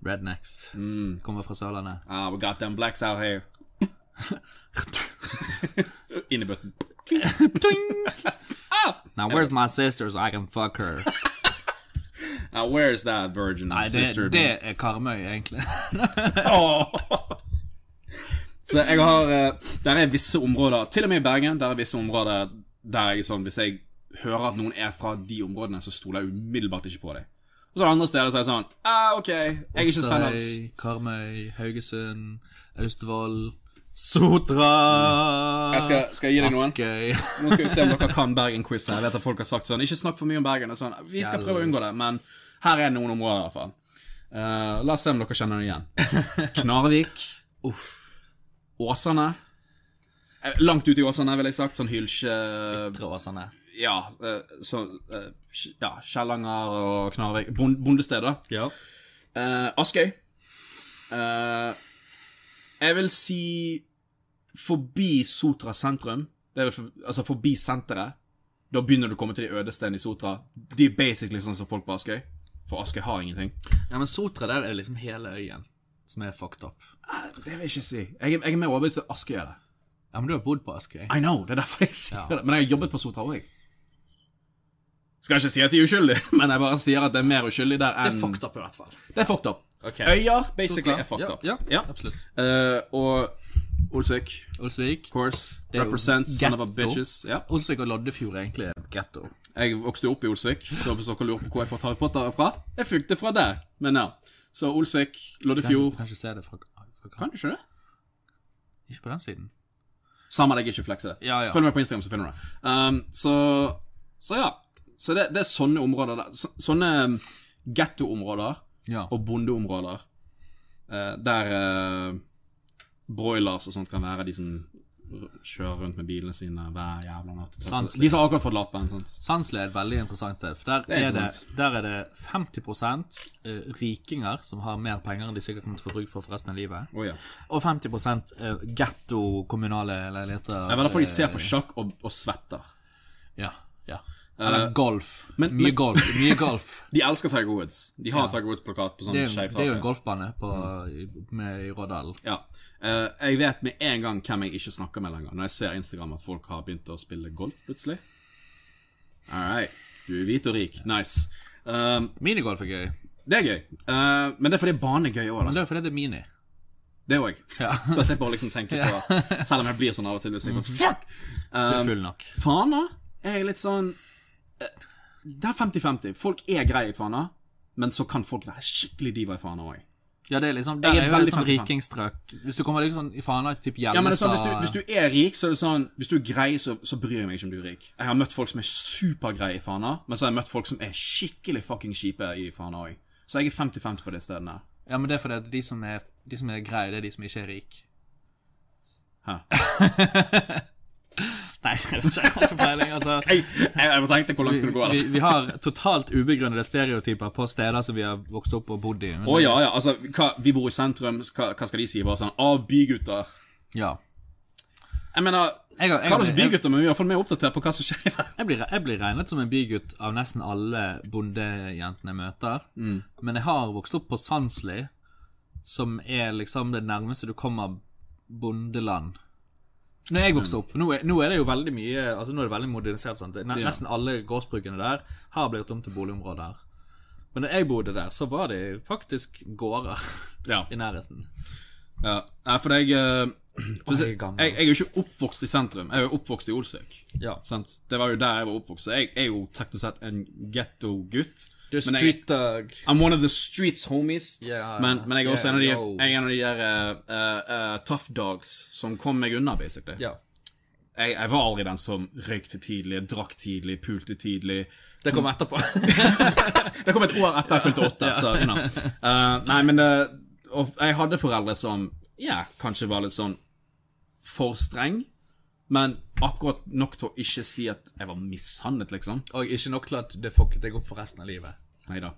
Rednecks
Mm.
kommer fra Sørlandet.
Ah, we got them blacks out here. Inn i bøtten. Ah!
Now where's my sister so I can fuck her?
Now, where is that virgin
Nei, det,
sister?
det er Karmøy, egentlig.
Åh! Så jeg har eh, Der er visse områder, til og med i Bergen, der er visse områder der jeg sånn Hvis jeg hører at noen er fra de områdene, så stoler jeg umiddelbart ikke på dem. Og så er det andre steder så er jeg sånn ah, OK, jeg er ikke så fan av
Osterøy, Karmøy, Haugesund, Austevoll, Sotra
Jeg skal, skal jeg gi deg noen?
Askøy.
Nå skal vi se om dere kan Bergen-quiz her. Jeg vet at folk har sagt sånn Ikke snakk for mye om Bergen. Og sånn. Vi skal prøve å unngå det, men her er noen områder, i hvert fall. Eh, la oss se om dere kjenner det igjen. Knarvik. Uff. Åsane. Eh, Langt ute i Åsane, ville jeg sagt. Sånn Hylsje
Ytre Åsane.
Ja, eh, så, eh, ja Kjellanger og Knarvik. Bond, bondested, da.
Ja.
Eh, Askøy. Eh, jeg vil si forbi Sotra sentrum. Det er vel for, altså forbi senteret. Da begynner du å komme til de øde stedene i Sotra. De er basically sånn som folk på Askøy. For Askøy har ingenting.
Ja, men Sotra der er det liksom hele øyen som er fucked up.
Eh, Det vil jeg ikke si. Jeg, er- jeg er mer overbevist om at Askøy er det.
Ja, men du har bodd på Askøy.
I know, det er derfor jeg sier det. Men jeg har jobbet på Sotra òg. Skal ikke si at de er uskyldige, men jeg bare sier at det er mer uskyldig der enn
Det er fucked up i hvert fall.
Det er fucked up.
Ok.
Øyer basically er fucked
ja,
up.
Ja,
Ja.
absolutt.
Eh, og Olsvik.
Olsvik.
course.
er jo
Represent son of a
ghetto.
bitches. Ja.
Olsvik og Loddefjord er egentlig getto.
Jeg vokste jo opp i Olsvik, så hvis dere lurer på hvor jeg får Harry Potter fra Jeg fikk det fra der, men ja. Så Olsvik, Loddefjord
Kanskje se det fra, fra
Kan du ikke det?
Ikke på den siden.
Samme det, jeg ikke flekse.
Ja, ja.
Følg meg på Instagram, så finner du det. Um, så, så ja. Så det, det er sånne områder der. Så, sånne um, gettoområder
Ja.
og bondeområder eh, der eh, broilers og sånt kan være de som r- kjører rundt med bilene sine hver jævla natt.
Sandslig.
De som akkurat fått lappen. Sant?
Sandsli er et veldig interessant sted. For der
er
er, det,
interessant.
der er det 50 eh, rikinger som har mer penger enn de sikkert kommer til å få bruk for for resten av livet.
Å, ja.
Og 50 eh, getto-kommunale leiligheter. eh,
Jeg vedder på de ser på sjakk og, og svetter.
Ja, ja. Eller golf.
Eh, men-
mye
men-
golf. Mye golf.
De elsker Tiger Woods. De har en Tiger Woods-plakat på sånn
Det er, jo-
skeiv
det er jo en
tak.
golfbane på, i- Mm. med, i Rådalen.
Ja. Eh, jeg vet med en gang hvem jeg ikke snakker med lenger, når jeg ser Instagram at folk har begynt å spille golf plutselig. All right. Du er hvit og rik. Nice. Um,
Minigolf er gøy.
det er gøy. Eh, men det er fordi banen er gøy òg, da.
Men det er jo fordi det er mini.
Det òg. Så jeg slipper å liksom tenke på Selv om jeg blir sånn av og til. Hvis jeg
Mm.
bare, Fuck!
Det
Um,
er full nok.
Fana er jeg litt sånn eh, Det er 50-50. Folk er greie i Fana, men så kan folk være skikkelig diva i Fana òg.
Ja, det er liksom
Jeg
Der
er
er jo
veldig
et sånn
fan av
rikingstrøk. Hvis du kommer liksom i faen av typ Gjellestad
Ja, men det er sånn, hvis, du, hvis du er rik, så er det sånn Hvis du er grei, så, så bryr jeg meg ikke om du er rik. Jeg har møtt folk som er supergreie i Fana, men så har jeg møtt folk som er skikkelig fucking kjipe i Fana òg. Så jeg er 50-50 på de stedene.
Ja, men det er fordi at de som er, de som er greie, det er de som ikke er rik.
Hæ?
Nei, jeg vet ikke, jeg har ikke peiling, altså.
Jeg, jeg, jeg tenkte hvor langt
Vi,
skulle det gå.
vi, vi har totalt ubegrunnede stereotyper på steder som vi har vokst opp og bodd i. men-
Å ja, ja. Altså, hva, vi bor i sentrum, så hva, hva skal de si? Bare sånn Å, bygutter.
ja.
Jeg mener
Jeg, jeg,
Hva er det
jeg,
som
jeg,
bygutter, men vi er i hvert fall mer oppdatert på hva som skjer her.
blir, jeg blir regnet som en bygutt av nesten alle bondejentene jeg møter. Men jeg har vokst opp på Sandsli, som er liksom det nærmeste du kommer bondeland. Når jeg vokste opp, nå er, nå er det jo veldig mye Altså nå er det veldig modernisert. Sant? Det er ne- Nesten alle gårdsbrukene der har blitt om til boligområder. Men da jeg bodde der, så var det faktisk gårder
Ja.
i nærheten.
ja. Nei, for jeg, eh, for å si-
jeg er gammel.
jeg, jeg er jo ikke oppvokst i sentrum. Jeg er jo oppvokst i Olsvik.
Ja.
Sant? Det var jo der jeg var oppvokst. Så jeg er jo teknisk sett en getto-gutt.
Du er
Men jeg-
street dog.
I'm one of the streets, homies.
Yeah,
men, men jeg er også
yeah,
en av de,
yo.
jeg er en av de der eh, eh, eh, tough dogs som kom meg unna, basically.
Ja.
Jeg, jeg var aldri den som røykte tidlig, drakk tidlig, pulte tidlig.
Det kommer etterpå.
Det kom et år etter jeg fylte åtte, så you know. Eh, Nei, men det, og jeg hadde foreldre som ja, kanskje var litt sånn for streng, men akkurat nok til å ikke si at jeg var mishandlet, liksom.
Og ikke nok til at det fucket deg opp for resten av livet.
Nei da.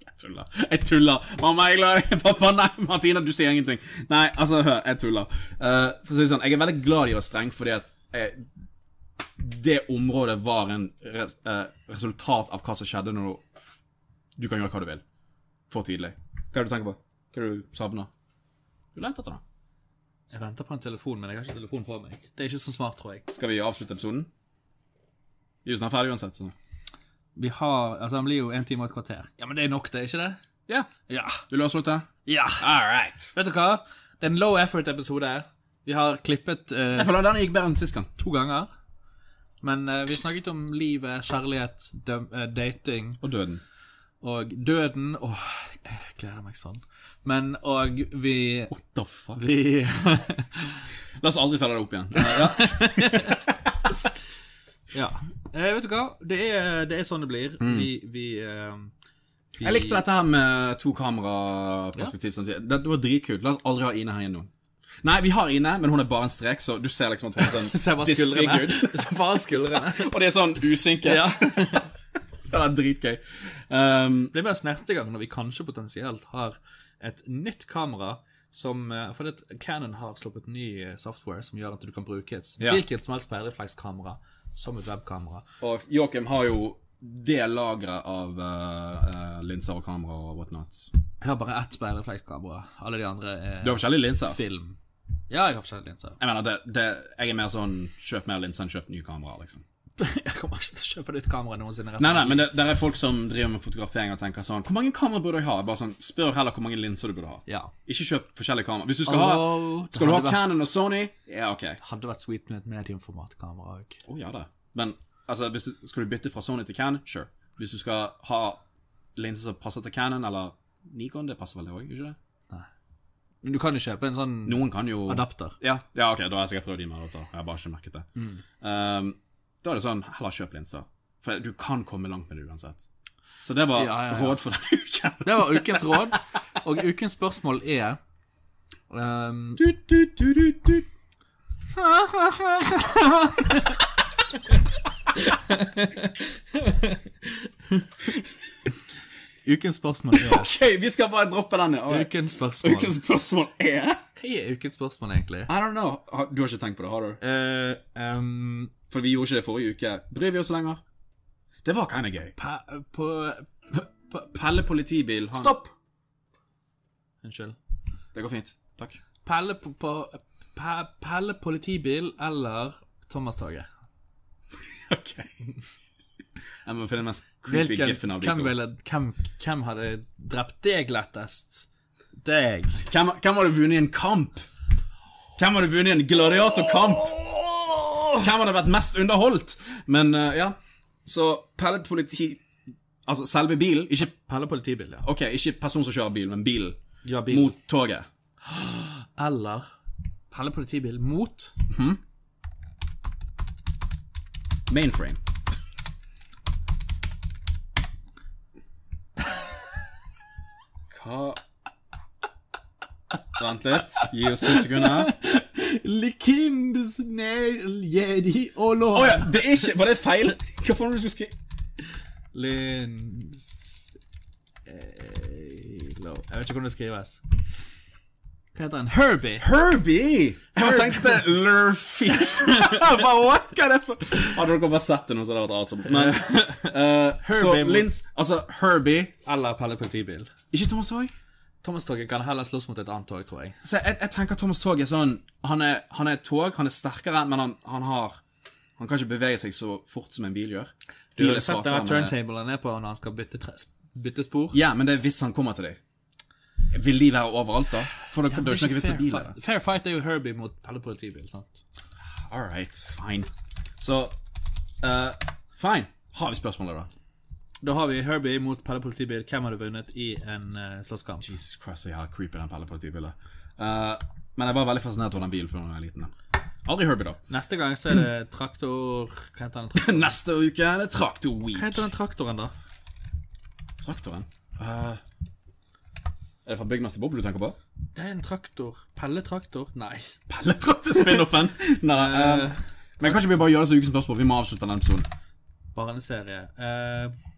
Jeg tuller. Jeg tuller. Mamma, jeg er glad i deg. Pappa, nei. Martina, du sier ingenting. Nei, altså, hør, jeg tuller. Eh, for å si det sånn, jeg er veldig glad de var streng, fordi at jeg, det området var en re, eh, resultat av hva som skjedde når du, du kan gjøre hva du vil. For tidlig. Hva er det du tenker på? Hva er det du savner? Du lengter etter det.
Jeg venter på en telefon, men jeg har ikke telefon på meg. Det er ikke så smart, tror jeg.
Skal vi avslutte episoden? Vi er jo snart ferdig uansett, så
Vi har, altså Han blir jo en time og et kvarter. Ja, Men det er nok, det, er ikke det?
Ja.
Ja.
Du vil avslutte?
ja.
All right.
Vet du hva? Det er en low effort-episode. Vi har klippet eh,
Jeg føler den gikk bedre enn sist gang.
to ganger. Men eh, vi snakket om livet, kjærlighet, døm, eh, dating
Og døden.
og døden. Åh, jeg gleder meg sånn. Men og vi
The fuck?
Vi
La oss aldri selge det opp igjen. Eh, ja.
Ja.
Eh, vet du hva? Det er, det er sånn det blir.
Mm.
Vi, vi, eh, vi
Jeg likte dette her med to kameraperspektiv sånn samtidig. Det, det var dritkult. La oss aldri ha Ine her igjen nå. Nei, vi har Ine, men hun er bare en strek, så du ser liksom at hun er sånn
Se bare skuldrene.
disfigured.
Se bare skuldrene.
Og det er sånn usynket.
Ja.
det var dritgøy. Um,
Bli med oss neste gang når vi kanskje potensielt har et nytt kamera som eh, For det, Canon har sluppet ny eh, software som gjør at du kan bruke et
Ja.
hvilket som helst pæreflekskamera som et webkamera.
og Joakim har jo det lageret av eh, eh, linser og kamera og whatnot.
Jeg har bare ett speilreflekskamera. Alle de andre er
Du har forskjellige linser.
film. Ja, jeg har forskjellige linser.
Jeg mener, det, det, jeg er mer sånn kjøp mer linser enn kjøp nye kameraer, liksom.
Jeg kommer ikke til å kjøpe nytt kamera noensinne. resten
Nei, nei,
av livet.
men det, der er folk som driver med fotografering og tenker sånn Hvor mange kamera burde jeg ha? Bare sånn, Spør heller hvor mange linser du burde ha.
Ja.
Ikke kjøp forskjellige kamera. Hvis du skal
Although,
ha
det
Skal du ha
hadde vært-
Canon og Sony? Ja, ok.
Hadde vært sweet med et mediumformatkamera òg.
Å, ja da. Men altså, hvis du, skal du bytte fra Sony til Canon, sure. Hvis du skal ha linser som passer til Canon, eller Nikon, det passer vel det òg, ikke det?
Men du kan jo kjøpe en sånn
Noen kan jo
adapter.
Ja, ja, ok, da har jeg sikkert prøvd de med adapter. Jeg har bare ikke merket det.
Mm.
Um, da er det sånn, heller kjøp linser. For du kan komme langt med det uansett. Så det var
Ja, ja, ja.
råd for denne uken.
Det var ukens råd. Og ukens spørsmål er ehm,
Tut, tut, tut, tut, tut.
Ukens spørsmål er
Ok, vi skal bare droppe denne. Alright.
Ukens spørsmål.
Ukens spørsmål er
Hva er ukens spørsmål, egentlig?
I don't know. Har- Du har ikke tenkt på det, har du?
Eh, ehm,
For vi gjorde ikke det forrige uke. Bryr vi oss lenger? Det var kinda gøy.
pa, på
P- Pelle politibil han...
Stopp! Unnskyld.
Det går fint. Takk.
Pelle, på, på, pa, Pelle politibil eller Thomas-toget?
Ok. Jeg må finne den mest creepy giffen av de
hvem,
to.
ville, hvem, hvem hadde drept deg lettest? Deg.
Hvem, hvem hadde vunnet i en kamp? Hvem hadde vunnet i en gladiatorkamp? Hvem hadde vært mest underholdt? Men eh, ja, så Pelle politi... Altså selve bilen, ikke,
Pelle politibil, ja.
ok, ikke personen som kjører bilen, men bilen.
Ja, bil.
Mot toget.
Eller Pelle politibil mot
Mainframe. Hva Vent litt. Gi oss to sekunder.
Likindus nail jedi og lov.
Å ja, det er ikke Var det feil? Hva faen var det du skulle skrive?
Lins Eilo. Jeg vet ikke hvordan det skrives. Hva heter han? Herbie.
Herbie! Jeg tenkte Lurfish. Hva what? Hva er det for Hadde dere bare sett det nå, så hadde det vært awesome. Men eh, Så
Herbie mot-
Lins Altså, Herbie
Eller Pelle politibil.
Ikke Thomas Haag?
Thomas-toget kan heller slåss mot et annet tog, tror jeg.
Så jeg, jeg tenker Thomas Tog er sånn Han er, han er et tog, han er sterkere, men han, han har Han kan ikke bevege seg så fort som en bil gjør.
Du
Bil er
har sett
svakere,
den
men-
turntablen er på når han skal bytte, tre, bytte spor.
Ja, men det er hvis han kommer til deg. Vil de være overalt, da? For da det er ikke noe vits i bil.
fair, fair fight er jo Herbie mot Pelle politibil, sant?
All right, fine. Så eh, Fine. Har vi spørsmålet, da?
Da har vi Herbie mot Pelle politibil. Hvem hadde vunnet i en uh, slåsskamp?
Jesus Christ, så jævla creepy den pellepartibilen. Uh, men jeg var veldig fascinert av den bilen før jeg var liten. Aldri Herbie, da.
Neste gang så er det traktor Hva heter den traktoren?
Neste uke er det Traktor
Hva
Week.
heter den traktoren da?
Traktoren? Eh, er det fra Byggmester Bob du tenker på?
Det er en traktor. Pelle traktor? Nei.
Pelletraktor-spin-offen? Nei. eh, men kanskje vi bare gjør det som ukens spørsmål? Vi må avslutte den episoden.
Barneserie. Eh,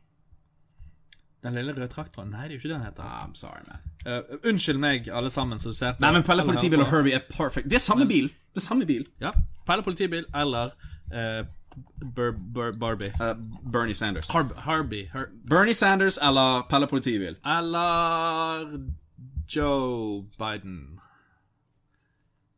den lille røde traktoren? Nei, det er jo ikke det den heter.
I'm sorry, man.
Eh, unnskyld meg, alle sammen som ser på.
Nei, men Pelle
eller
politibil og
hører på.
Herbie er perfect. Det er samme bil. Det er samme bil.
Ja. Pelle politibil eller eh, Bur Bur Barbie.
Eh, Bernie Sanders.
Harb Harby. Her
Bernie Sanders eller Pelle politibil?
eller Joe Biden.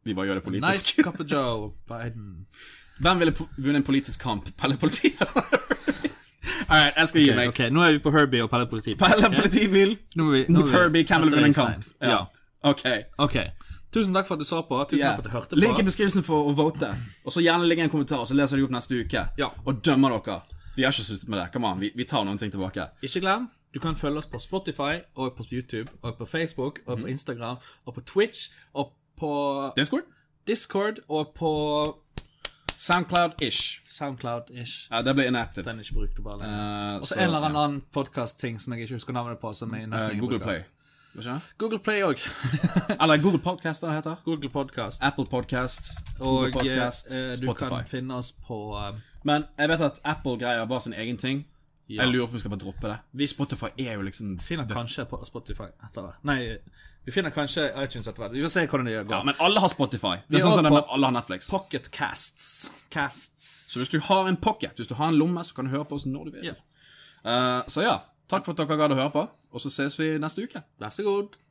Vi bare gjør det politisk.
Nice cup of Joe Biden.
Hvem ville po- vunnet en politisk kamp? Pelle politibil eller Herbie? All right, jeg skal gi meg.
Ok, Nå er vi på Herbie og Pelle politibil.
Pelle politibil
Nå må vi- nå må
mot
vi
Herbie. Hvem ville
sette
vunnet en
det i
kamp?
stein. Ja.
Ok.
Ok. Tusen takk for at du så på. Tusen
Yeah.
takk for at du hørte på.
Link i beskrivelsen for å vote. Og så gjerne legg en kommentar, så leser de opp neste uke.
Ja.
Og dømmer dere. Vi har ikke sluttet med det. Come on, vi, vi tar noen ting tilbake.
Ikke glem, du kan følge oss på Spotify, og på YouTube, og på Facebook, og
Mhm.
på Instagram, og på Twitch, og på
Discord?
Discord, og på
Soundcloud-ish.
Soundcloud-ish.
Ja, det ble inactive.
Den er ikke brukt opp alle.
Eh,
og så en eller annen podcast-ting som jeg ikke husker navnet på, som jeg
Eh,
nesten ingen
Google
bruker.
Play. Hva skjer?
Google Play også.
Eller Google Podcast, det heter.
Google Podcast.
Apple Podcast, Google
Og
Podcast,
eh, du
Spotify.
kan finne oss på eh,
Men jeg vet at Apple-greier var sin egen ting. Jeg lurer på om vi skal bare droppe det. Spotify er jo liksom
Finner kanskje på Spotify etter hvert. Nei, vi finner kanskje iTunes etter hvert. Vi får se hvordan det går.
Ja, Men alle har Spotify. Det er
har
sånn som det
po-
med alle har Netflix.
Pocket Casts. Casts.
Så hvis du har en pocket, hvis du har en lomme, så kan du høre på oss når du vil.
Ja.
Eh, så ja, takk for at dere gadd å høre på, og så ses vi neste uke.
Vær så god.